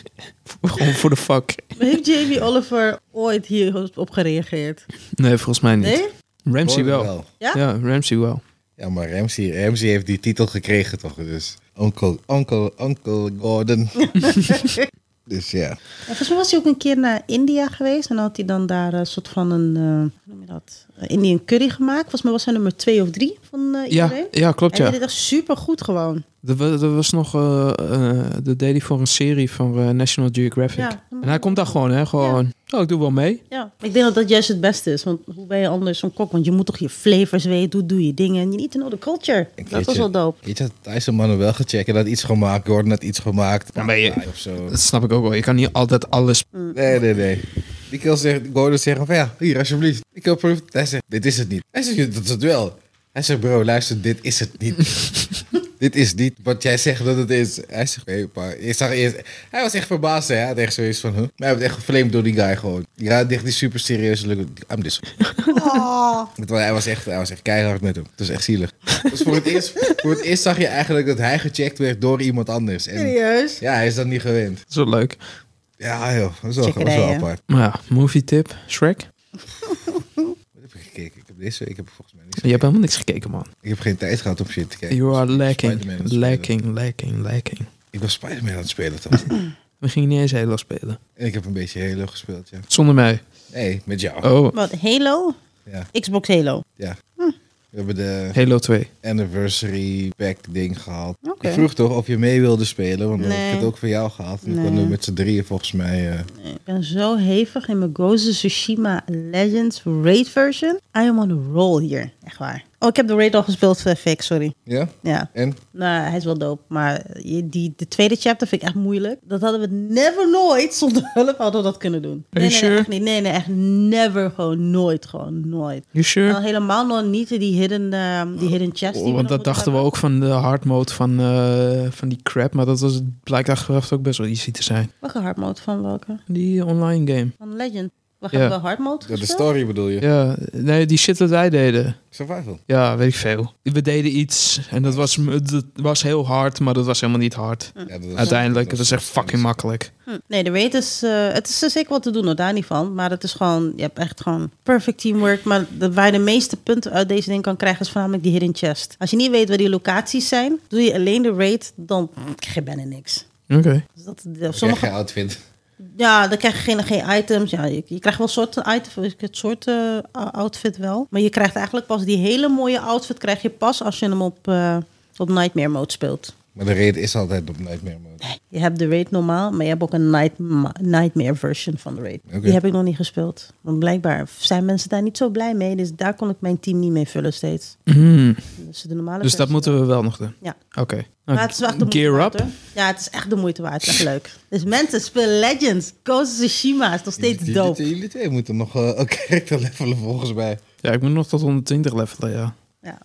S2: [laughs] gewoon voor de fuck.
S1: [laughs] Heeft Jamie Oliver ooit hierop gereageerd?
S2: Nee, volgens mij niet.
S1: Nee?
S2: Ramsey
S3: Gordon
S2: wel.
S1: Ja?
S2: Ja? Ramsey wel.
S3: Ja, maar Ramsey, Ramsey heeft die titel gekregen toch? Dus Uncle, Uncle, Uncle Gordon. dus ja.
S1: Ja, volgens mij was hij ook een keer naar India geweest. En had hij dan daar een soort van een, eh, hoe noem je dat? Een Indian curry gemaakt. Volgens mij was hij nummer twee of drie van eh
S2: Ja,
S1: iedereen.
S2: ja, klopt
S1: Hij
S2: ja.
S1: deed het echt super goed gewoon.
S2: Dat was, dat was nog, eh eh, dat deed hij voor een serie van eh, National Geographic.
S1: Ja.
S2: En hij komt daar gewoon, hè? Gewoon, oh, ik doe wel mee.
S1: Ja, ik denk dat dat juist het beste is. Want hoe ben je anders zo'n kok? Want je moet toch je flavors weten, hoe doe je dingen. En je need to know the culture.
S3: Een
S1: dat was
S3: keertje.
S1: wel dope.
S3: Weet je, Tyson mannen wel gaat checken. Dat iets gemaakt, Gordon had iets gemaakt.
S2: Ja, maar je-
S3: Of zo.
S2: Dat snap ik ook wel. Je kan niet altijd alles...
S3: Nee, nee, nee. Die kerel zegt, Gordon zegt van ja, hier alsjeblieft. Ik heb proef. Hij zegt, dit is het niet. Hij zegt, dat is het wel. Hij zegt, bro, luister, dit is het niet. dit is niet wat jij zegt dat het is. Hij zegt, nee, pa. Ik zag eerst, hij was echt verbaasd, hè. Hij had echt zoiets van, huh? Maar hij werd echt geflamed door die guy gewoon. Ja, echt die super serieus. look, I'm this. [laughs] Want Hij was, echt, hij was echt keihard met hem. Het was echt zielig. Dus voor het, eerst, voor het eerst zag je eigenlijk dat hij gecheckt werd door iemand anders. En
S1: Serieus?
S3: ja, hij is dat niet gewend.
S2: Zo leuk.
S3: Ja, joh. Dat is wel, dat is wel
S1: Checkerijen.
S3: apart.
S2: Maar ja, movie tip. Shrek.
S3: Wat heb ik gekeken? Ik heb deze week heb ik volgens mij niks.
S2: Je hebt helemaal niks gekeken, man.
S3: Ik heb geen tijd gehad om shit te kijken.
S2: You are lacking.
S3: Spider-Man is
S2: Lacking, lacking, lacking.
S3: Ik was Spider-Man aan het spelen
S2: [laughs]
S3: toen.
S2: We gingen niet eens Halo spelen.
S3: en ik heb een beetje Halo gespeeld, ja.
S2: Zonder mij.
S3: Nee, met jou.
S2: Oh,
S1: Wat, Halo?
S3: Ja,
S1: Xbox Halo.
S3: ja. We hebben de
S2: Halo 2.
S3: anniversary pack ding gehad.
S1: Oké.
S3: Ik vroeg toch of je mee wilde spelen, want dan heb
S1: Nee.
S3: ik het ook voor jou gehad. En dan
S1: Nee.
S3: konden we met z'n drieën volgens mij... eh,
S1: Ik ben zo hevig in mijn Ghost of Tsushima Legends Raid version. I am on a roll hier. Echt waar. Oh, ik heb de Raid al gespeeld voor FX, sorry.
S3: ja?
S1: Ja.
S3: En?
S1: Nou, hij is wel dope, maar je- die, de tweede chapter vind ik echt moeilijk. Dat hadden we never nooit zonder [laughs] hulp hadden we dat kunnen doen.
S2: Are
S1: Nee, nee,
S2: you sure?
S1: echt niet. Nee, nee, echt never. Gewoon nooit. Gewoon nooit.
S2: You sure?
S1: Al helemaal nog niet die hidden, ehm, die hidden chest.
S2: Oh, want dat dachten we ook van de hard mode van, eh, van die crap. Maar dat was, blijkt achteraf ook best wel easy te zijn.
S1: Welke hard mode van welke?
S2: Die online game.
S1: Van Legend. We
S2: Ja.
S1: gaan wel hard mode
S3: Ja, de
S1: gespeeld?
S3: story bedoel je?
S2: Ja, nee, die shit dat wij deden.
S3: Survival.
S2: Ja, weet ik veel. We deden iets en dat was, m- dat was heel hard, maar dat was helemaal niet hard.
S3: Ja, dat was-
S2: Uiteindelijk, dat is echt fucking makkelijk.
S1: Hm. Nee, de raid is... eh, het is er zeker wat te doen, hoor, daar niet van. Maar het is gewoon... Je hebt echt gewoon perfect teamwork. Maar de, waar je de meeste punten uit deze ding kan krijgen... is voornamelijk die hidden chest. Als je niet weet waar die locaties zijn... doe je alleen de raid, dan krijg je bijna niks.
S2: Oké.
S1: Dus dat, de-
S3: Dan krijg
S1: sommige,
S3: je een outfit.
S1: ja, dan krijg je geen, geen items. Ja, je, je krijgt wel soorten items, het soort eh, outfit wel. Maar je krijgt eigenlijk pas die hele mooie outfit... krijg je pas als je hem op, eh, op Nightmare Mode speelt.
S3: Maar de raid is altijd op Nightmare Mode.
S1: Je hebt de raid normaal, maar je hebt ook een nightma- nightmare version van de raid.
S3: Oké.
S1: Die heb ik nog niet gespeeld. Want blijkbaar zijn mensen daar niet zo blij mee. Dus daar kon ik mijn team niet mee vullen steeds.
S2: Hmm,
S1: Dus de normale
S2: Dus dat
S1: versie-
S2: moeten we wel nog doen.
S1: Ja.
S2: Oké.
S1: Maar het is wel echt de moeite
S2: Gear
S1: waard,
S2: up.
S1: hoor. Ja, het is echt de moeite waard. Echt leuk. Dus mensen, speel Legends. Ghost of Tsushima is nog steeds
S3: Jullie-
S1: dope.
S3: Jullie, jullie twee moeten nog eh, een character levelen volgens mij.
S2: Ja, ik moet nog tot 120 levelen, ja.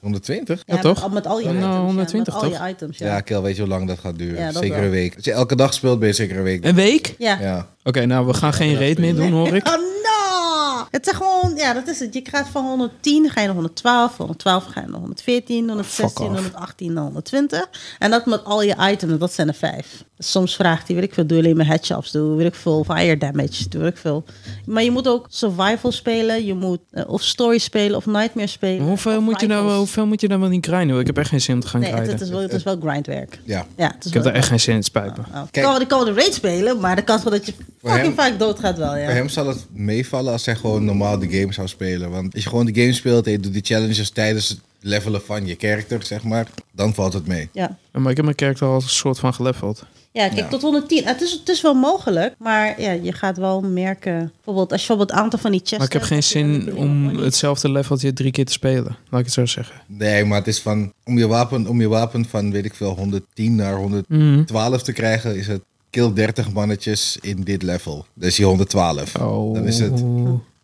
S3: 120?
S2: Ja, toch?
S1: Met, met al je
S2: Nou,
S1: items. ja,
S2: 120
S1: met
S2: toch?
S1: al je items,
S3: Ja,
S1: ja. Ja,
S3: Kel, weet je hoe lang dat gaat duren?
S1: Ja, dat
S3: zeker
S1: wel.
S3: een week. Als je elke dag speelt, ben je zeker een week.
S2: Een week?
S3: Ja.
S2: Oké, nou, we gaan geen raid meer doen,
S1: [laughs]
S2: hoor ik.
S1: Oh, no! Het is gewoon, ja, dat is het. Je krijgt van 110, ga je naar 112, van 112 ga je naar 114, 116,
S2: Oh, off.
S1: 118, naar 120. En dat met al je items, dat zijn er vijf. Soms vraagt hij, weet ik veel, doe je alleen maar headshots, doe weet ik veel, fire damage, doe weet ik veel. Maar je moet ook survival spelen, je moet eh, of story spelen of nightmare spelen.
S2: Maar Hoeveel
S1: of
S2: moet, je nou, wel-
S1: rivals.
S2: hoeveel moet je nou wel niet grinden? hoor? Ik heb echt geen zin om te gaan
S1: Nee, het,
S2: grinden.
S1: het is wel, het is wel grindwerk.
S3: ja.
S1: Ja, het is
S2: Ik heb
S1: wel-
S2: daar echt geen zin in, het spijt me.
S1: Oh.
S3: Kijk.
S1: Kan wel- Ik kan wel de raid spelen, maar de kans wel dat je
S3: Voor hem-
S1: fucking vaak doodgaat wel, ja.
S3: Voor hem zal het meevallen als hij gewoon normaal de game zou spelen. Want als je gewoon de game speelt en je doet die challenges tijdens het levelen van je character, zeg maar, dan valt het mee.
S1: ja.
S2: Ja, maar ik heb mijn kerk al een soort van geleveld.
S1: Ja, kijk,
S3: Ja.
S1: tot 110. Het is, het is wel mogelijk, maar ja, je gaat wel merken. Bijvoorbeeld, als je bijvoorbeeld het aantal van die chests.
S2: Maar ik heb geen
S1: hebt, dan
S2: zin
S1: heb je
S2: om
S1: nog wel iets.
S2: hetzelfde leveltje drie keer te spelen. Laat ik het zo zeggen.
S3: Nee, maar het is van om je wapen, om je wapen van weet ik veel 110 naar 112 te krijgen, is het kill 30 mannetjes in dit level. Dus die 112.
S1: [laughs]
S2: Oh.
S3: Dan is het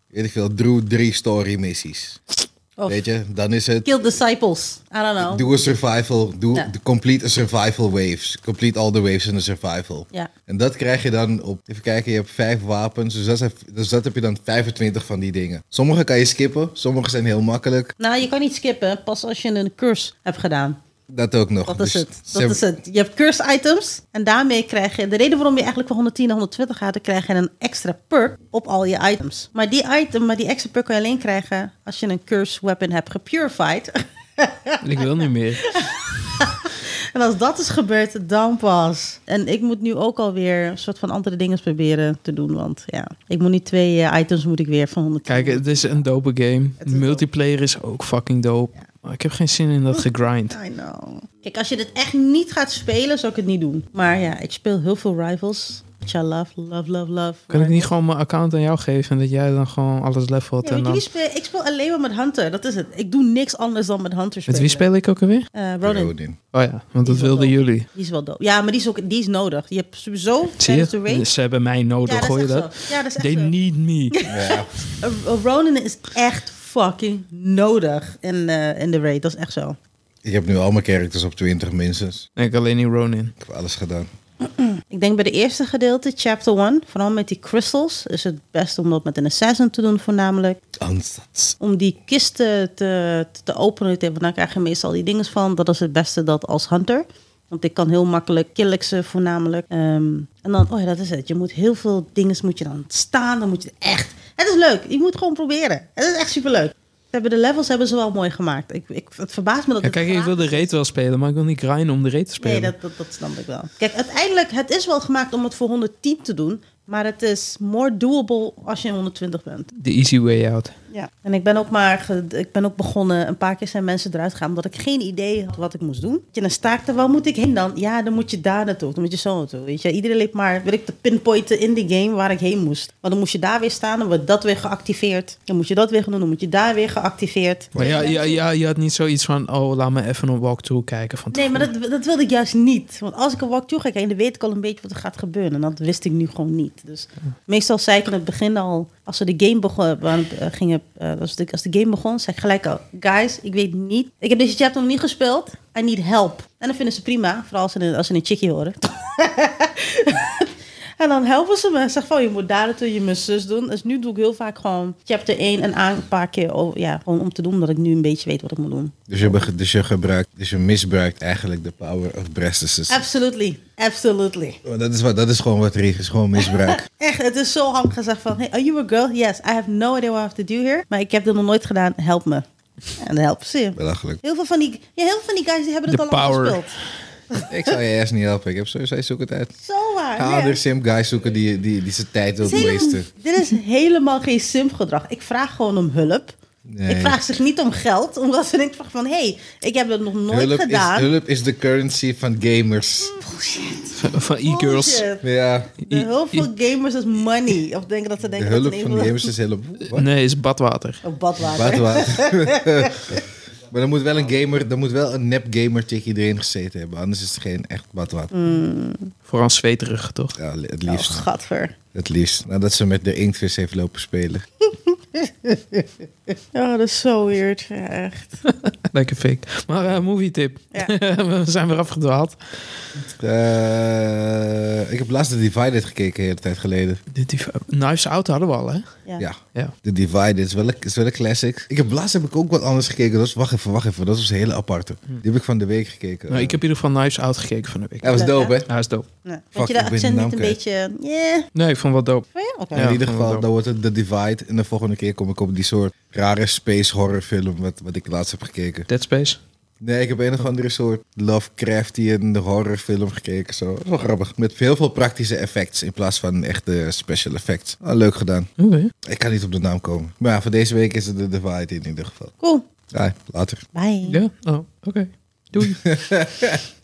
S3: weet ik veel Drew 3 story missies.
S1: Of
S3: Weet je, dan is het
S1: Kill disciples. I don't know.
S3: Doe een survival. Doe
S1: Ja.
S3: de complete a survival waves. Complete all the waves in de survival.
S1: Ja.
S3: En dat krijg je dan op. Even kijken, je hebt vijf wapens. Dus dat, zijn, dus dat heb je dan 25 van die dingen. Sommige kan je skippen. Sommige zijn heel makkelijk.
S1: Nou, je kan niet skippen, pas als je een curse hebt gedaan.
S3: Dat ook nog.
S1: Dat is
S3: Dus
S1: het.
S3: ze-
S1: Dat is het. Je hebt curse items en daarmee krijg je... De reden waarom je eigenlijk van 110 naar 120 gaat... dan krijg je een extra perk op al je items. Maar die, item, maar die extra perk kan je alleen krijgen... als je een curse weapon hebt gepurified.
S2: Ik wil niet meer.
S1: En als dat is gebeurd, dan pas. En ik moet nu ook alweer een soort van andere dingen proberen te doen. Want ja, ik moet nu twee eh, items moet ik weer van 100
S2: Kijk, het is een dope game.
S1: Het is
S2: Multiplayer is ook fucking dope. Maar ik heb geen zin in dat gegrind.
S1: I know. Kijk, als je dit echt niet gaat spelen, zou ik het niet doen. Maar ja, ik speel heel veel Rivals. Which I love, love, love, love.
S2: Kan ik niet gewoon mijn account aan jou geven en dat jij dan gewoon alles levelt?
S1: Ja,
S2: en
S1: want jullie
S2: dan...
S1: spelen, ik speel alleen maar met Hunter, dat is het. Ik doe niks anders dan met Hunter spelen.
S2: Met wie speel ik ook alweer?
S1: Eh, Ronin.
S3: Rodin.
S2: Oh ja, want dat
S1: is wel
S2: wilden
S1: dope.
S2: jullie.
S1: Die is wel dood. Ja, maar die is, ook, die is nodig. Je hebt sowieso
S2: Zie
S1: tijdens de raid-
S2: je? Ze hebben mij nodig,
S1: Ja, dat
S2: hoor je
S1: is echt
S2: dat?
S1: zo. Ja, dat is echt
S2: They
S1: zo.
S2: need
S1: [laughs]
S2: me.
S3: Ja.
S1: Een- een Eh, Ronin is echt fucking nodig in, eh, in de raid. Dat is echt zo.
S3: Ik heb nu al mijn characters op 20 minstens.
S2: Nee, ik alleen in Ronin.
S3: Ik heb alles gedaan.
S1: Ik denk bij de eerste gedeelte, chapter 1, vooral met die crystals, is het best om dat met een assassin te doen voornamelijk.
S3: Ansatz.
S1: Om die kisten te, te openen, te- want daar krijg je meestal die dingen van. Dat is het beste dat als hunter. Want ik kan heel makkelijk kill ik ze voornamelijk. Ehm, en dan, oh ja, dat is het. Je moet heel veel dingen moet je dan staan. Dan moet je echt... Het is leuk. Je moet gewoon proberen. Het is echt superleuk. Ze hebben de levels hebben ze wel mooi gemaakt. Ik, ik, het verbaast me dat
S2: Ja,
S1: het
S2: kijk, ik
S1: gratis
S2: wil de
S1: is.
S2: reet wel spelen, maar ik wil niet grinden om de reet te
S1: Nee,
S2: spelen.
S1: dat, dat, dat snap ik wel. Kijk, uiteindelijk, het is wel gemaakt om het voor 110 te doen. Maar het is more doable als je in 120 bent.
S2: De easy way out.
S1: Ja. En ik ben ook maar, ge- ik ben ook begonnen, een paar keer zijn mensen eruit gegaan omdat ik geen idee had wat ik moest doen. Weet Je, dan sta ik er, waar moet ik heen dan? Ja, dan moet je daar naartoe, dan moet je zo naartoe. Weet je, iedereen liep maar, wil ik, te pinpointen in die game waar ik heen moest. Want dan moest je daar weer staan, dan wordt dat weer geactiveerd. Dan moet je dat weer gaan doen, dan moet je daar weer geactiveerd.
S2: Maar ja, ja, ja, je had niet zoiets van, oh, laat me even een walkthrough kijken van
S1: Nee, maar
S2: tevoren.
S1: dat, dat wilde ik juist niet. Want als ik een walkthrough ga kijken, dan weet ik al een beetje wat er gaat gebeuren. En dat wist ik nu gewoon niet. Dus meestal zei ik in het begin al, als we de game begon, want, eh, gingen, eh, als, de, als de game begon, zei ik gelijk al, guys, ik weet niet. Ik heb deze chapter nog niet gespeeld. I need help. En dan vinden ze prima, vooral als ze een, als ze een chickie horen. [laughs] En dan helpen ze me. Zeg van, je moet daar naartoe, je moet zus doen. Dus nu doe ik heel vaak gewoon chapter 1 en aan een paar keer. Oh, ja, gewoon om te doen, omdat ik nu een beetje weet wat ik moet doen.
S3: Dus je, bege- dus je, gebruikt, dus je misbruikt eigenlijk de power of Brestersus.
S1: Absolutely, absolutely.
S3: Dat is, wat, dat is gewoon wat er is, is gewoon
S1: [laughs]
S3: misbruik.
S1: Echt, het is zo handig gezegd van... Hey, are you a girl? Yes, I have no idea what I have to do here. Maar ik heb dit nog nooit gedaan. Help me. En dan helpen ze je.
S3: Belachelijk.
S1: Heel veel van die, ja, heel veel van die guys die hebben het
S2: De
S1: al lang
S2: power.
S1: gespeeld.
S3: Ik zou je eerst niet helpen. Ik heb sowieso, hij zoekt het uit.
S1: Zo waar.
S3: Ga
S1: ja.
S3: andere sim guys zoeken die, die, die zijn tijd
S1: Dit
S3: wil
S1: is helemaal,
S3: meesten.
S1: dit is helemaal geen simgedrag. Ik vraag gewoon om hulp.
S3: Nee.
S1: Ik vraag zich niet om geld. Omdat ze denken van... hey, ik heb het nog nooit
S3: Hulp is,
S1: gedaan. Hmm.
S3: hulp is de currency van gamers.
S2: [laughs] Van, van e-girls.
S1: Bullshit.
S3: Ja,
S1: De hulp van gamers is money. Of denken dat ze
S3: e- de
S1: denken dat
S3: hulp
S1: ze
S3: van
S1: even-
S3: gamers
S1: [laughs]
S3: is hulp. Wat?
S2: Nee, is badwater.
S1: Oh, badwater. [laughs]
S3: Wat, wat? [laughs] maar dan moet wel een gamer, dan moet wel een nep gamer tegen iedereen gezeten hebben. Anders is het geen echt badwater.
S1: Hmm.
S2: Vooral zweterig, toch? [laughs]
S3: Ja, het
S1: Oh,
S3: liefst.
S1: schatver.
S3: Het liefst. Nadat ze met de inktvis heeft lopen spelen.
S1: Oh, dat is zo weird. Ja, echt.
S2: Lekker fake. Maar eh, movie tip.
S1: Ja.
S2: [laughs] We zijn weer afgedwaald.
S3: Eh, ik heb laatst The Divided gekeken, een hele tijd geleden.
S2: De div- Knives Out hadden we al, hè?
S1: Ja.
S3: Ja.
S2: Ja.
S3: The Divided is wel, een, is wel een classic. Ik heb laatst heb ik ook wat anders gekeken. Dat was, wacht even, wacht even. Dat was een hele aparte. Die heb ik van de week gekeken.
S2: Hmm. Nou, ik heb in ieder geval Knives Out gekeken van de week.
S3: Hij Eh, was
S1: Leuk,
S3: dope, hè?
S2: Hij is dope.
S1: Nee.
S3: Fuck,
S1: Vond je
S3: ik
S1: de
S3: ben nou
S1: accent
S3: de
S1: niet een
S3: naam
S1: beetje... eh, Yeah.
S2: Nee, ik vond het wel dope.
S1: Oh ja, oké.
S3: Maar in
S2: Ja.
S3: ieder geval,
S2: dope.
S3: dan wordt het The Divide. En de volgende keer kom ik op die soort rare space horror film wat, wat ik laatst heb gekeken.
S2: Dead Space.
S3: Nee, ik heb een of andere soort Lovecraftian horrorfilm gekeken. Zo. Dat is wel grappig. Met heel veel praktische effects in plaats van echte special effects. Ah, leuk gedaan.
S2: Oké.
S3: Ik kan niet op de naam komen. Maar ja, voor deze week is het de Divide in ieder geval.
S1: Cool.
S3: Ja, later.
S1: Bye.
S2: Ja? Oh, oké. Doei.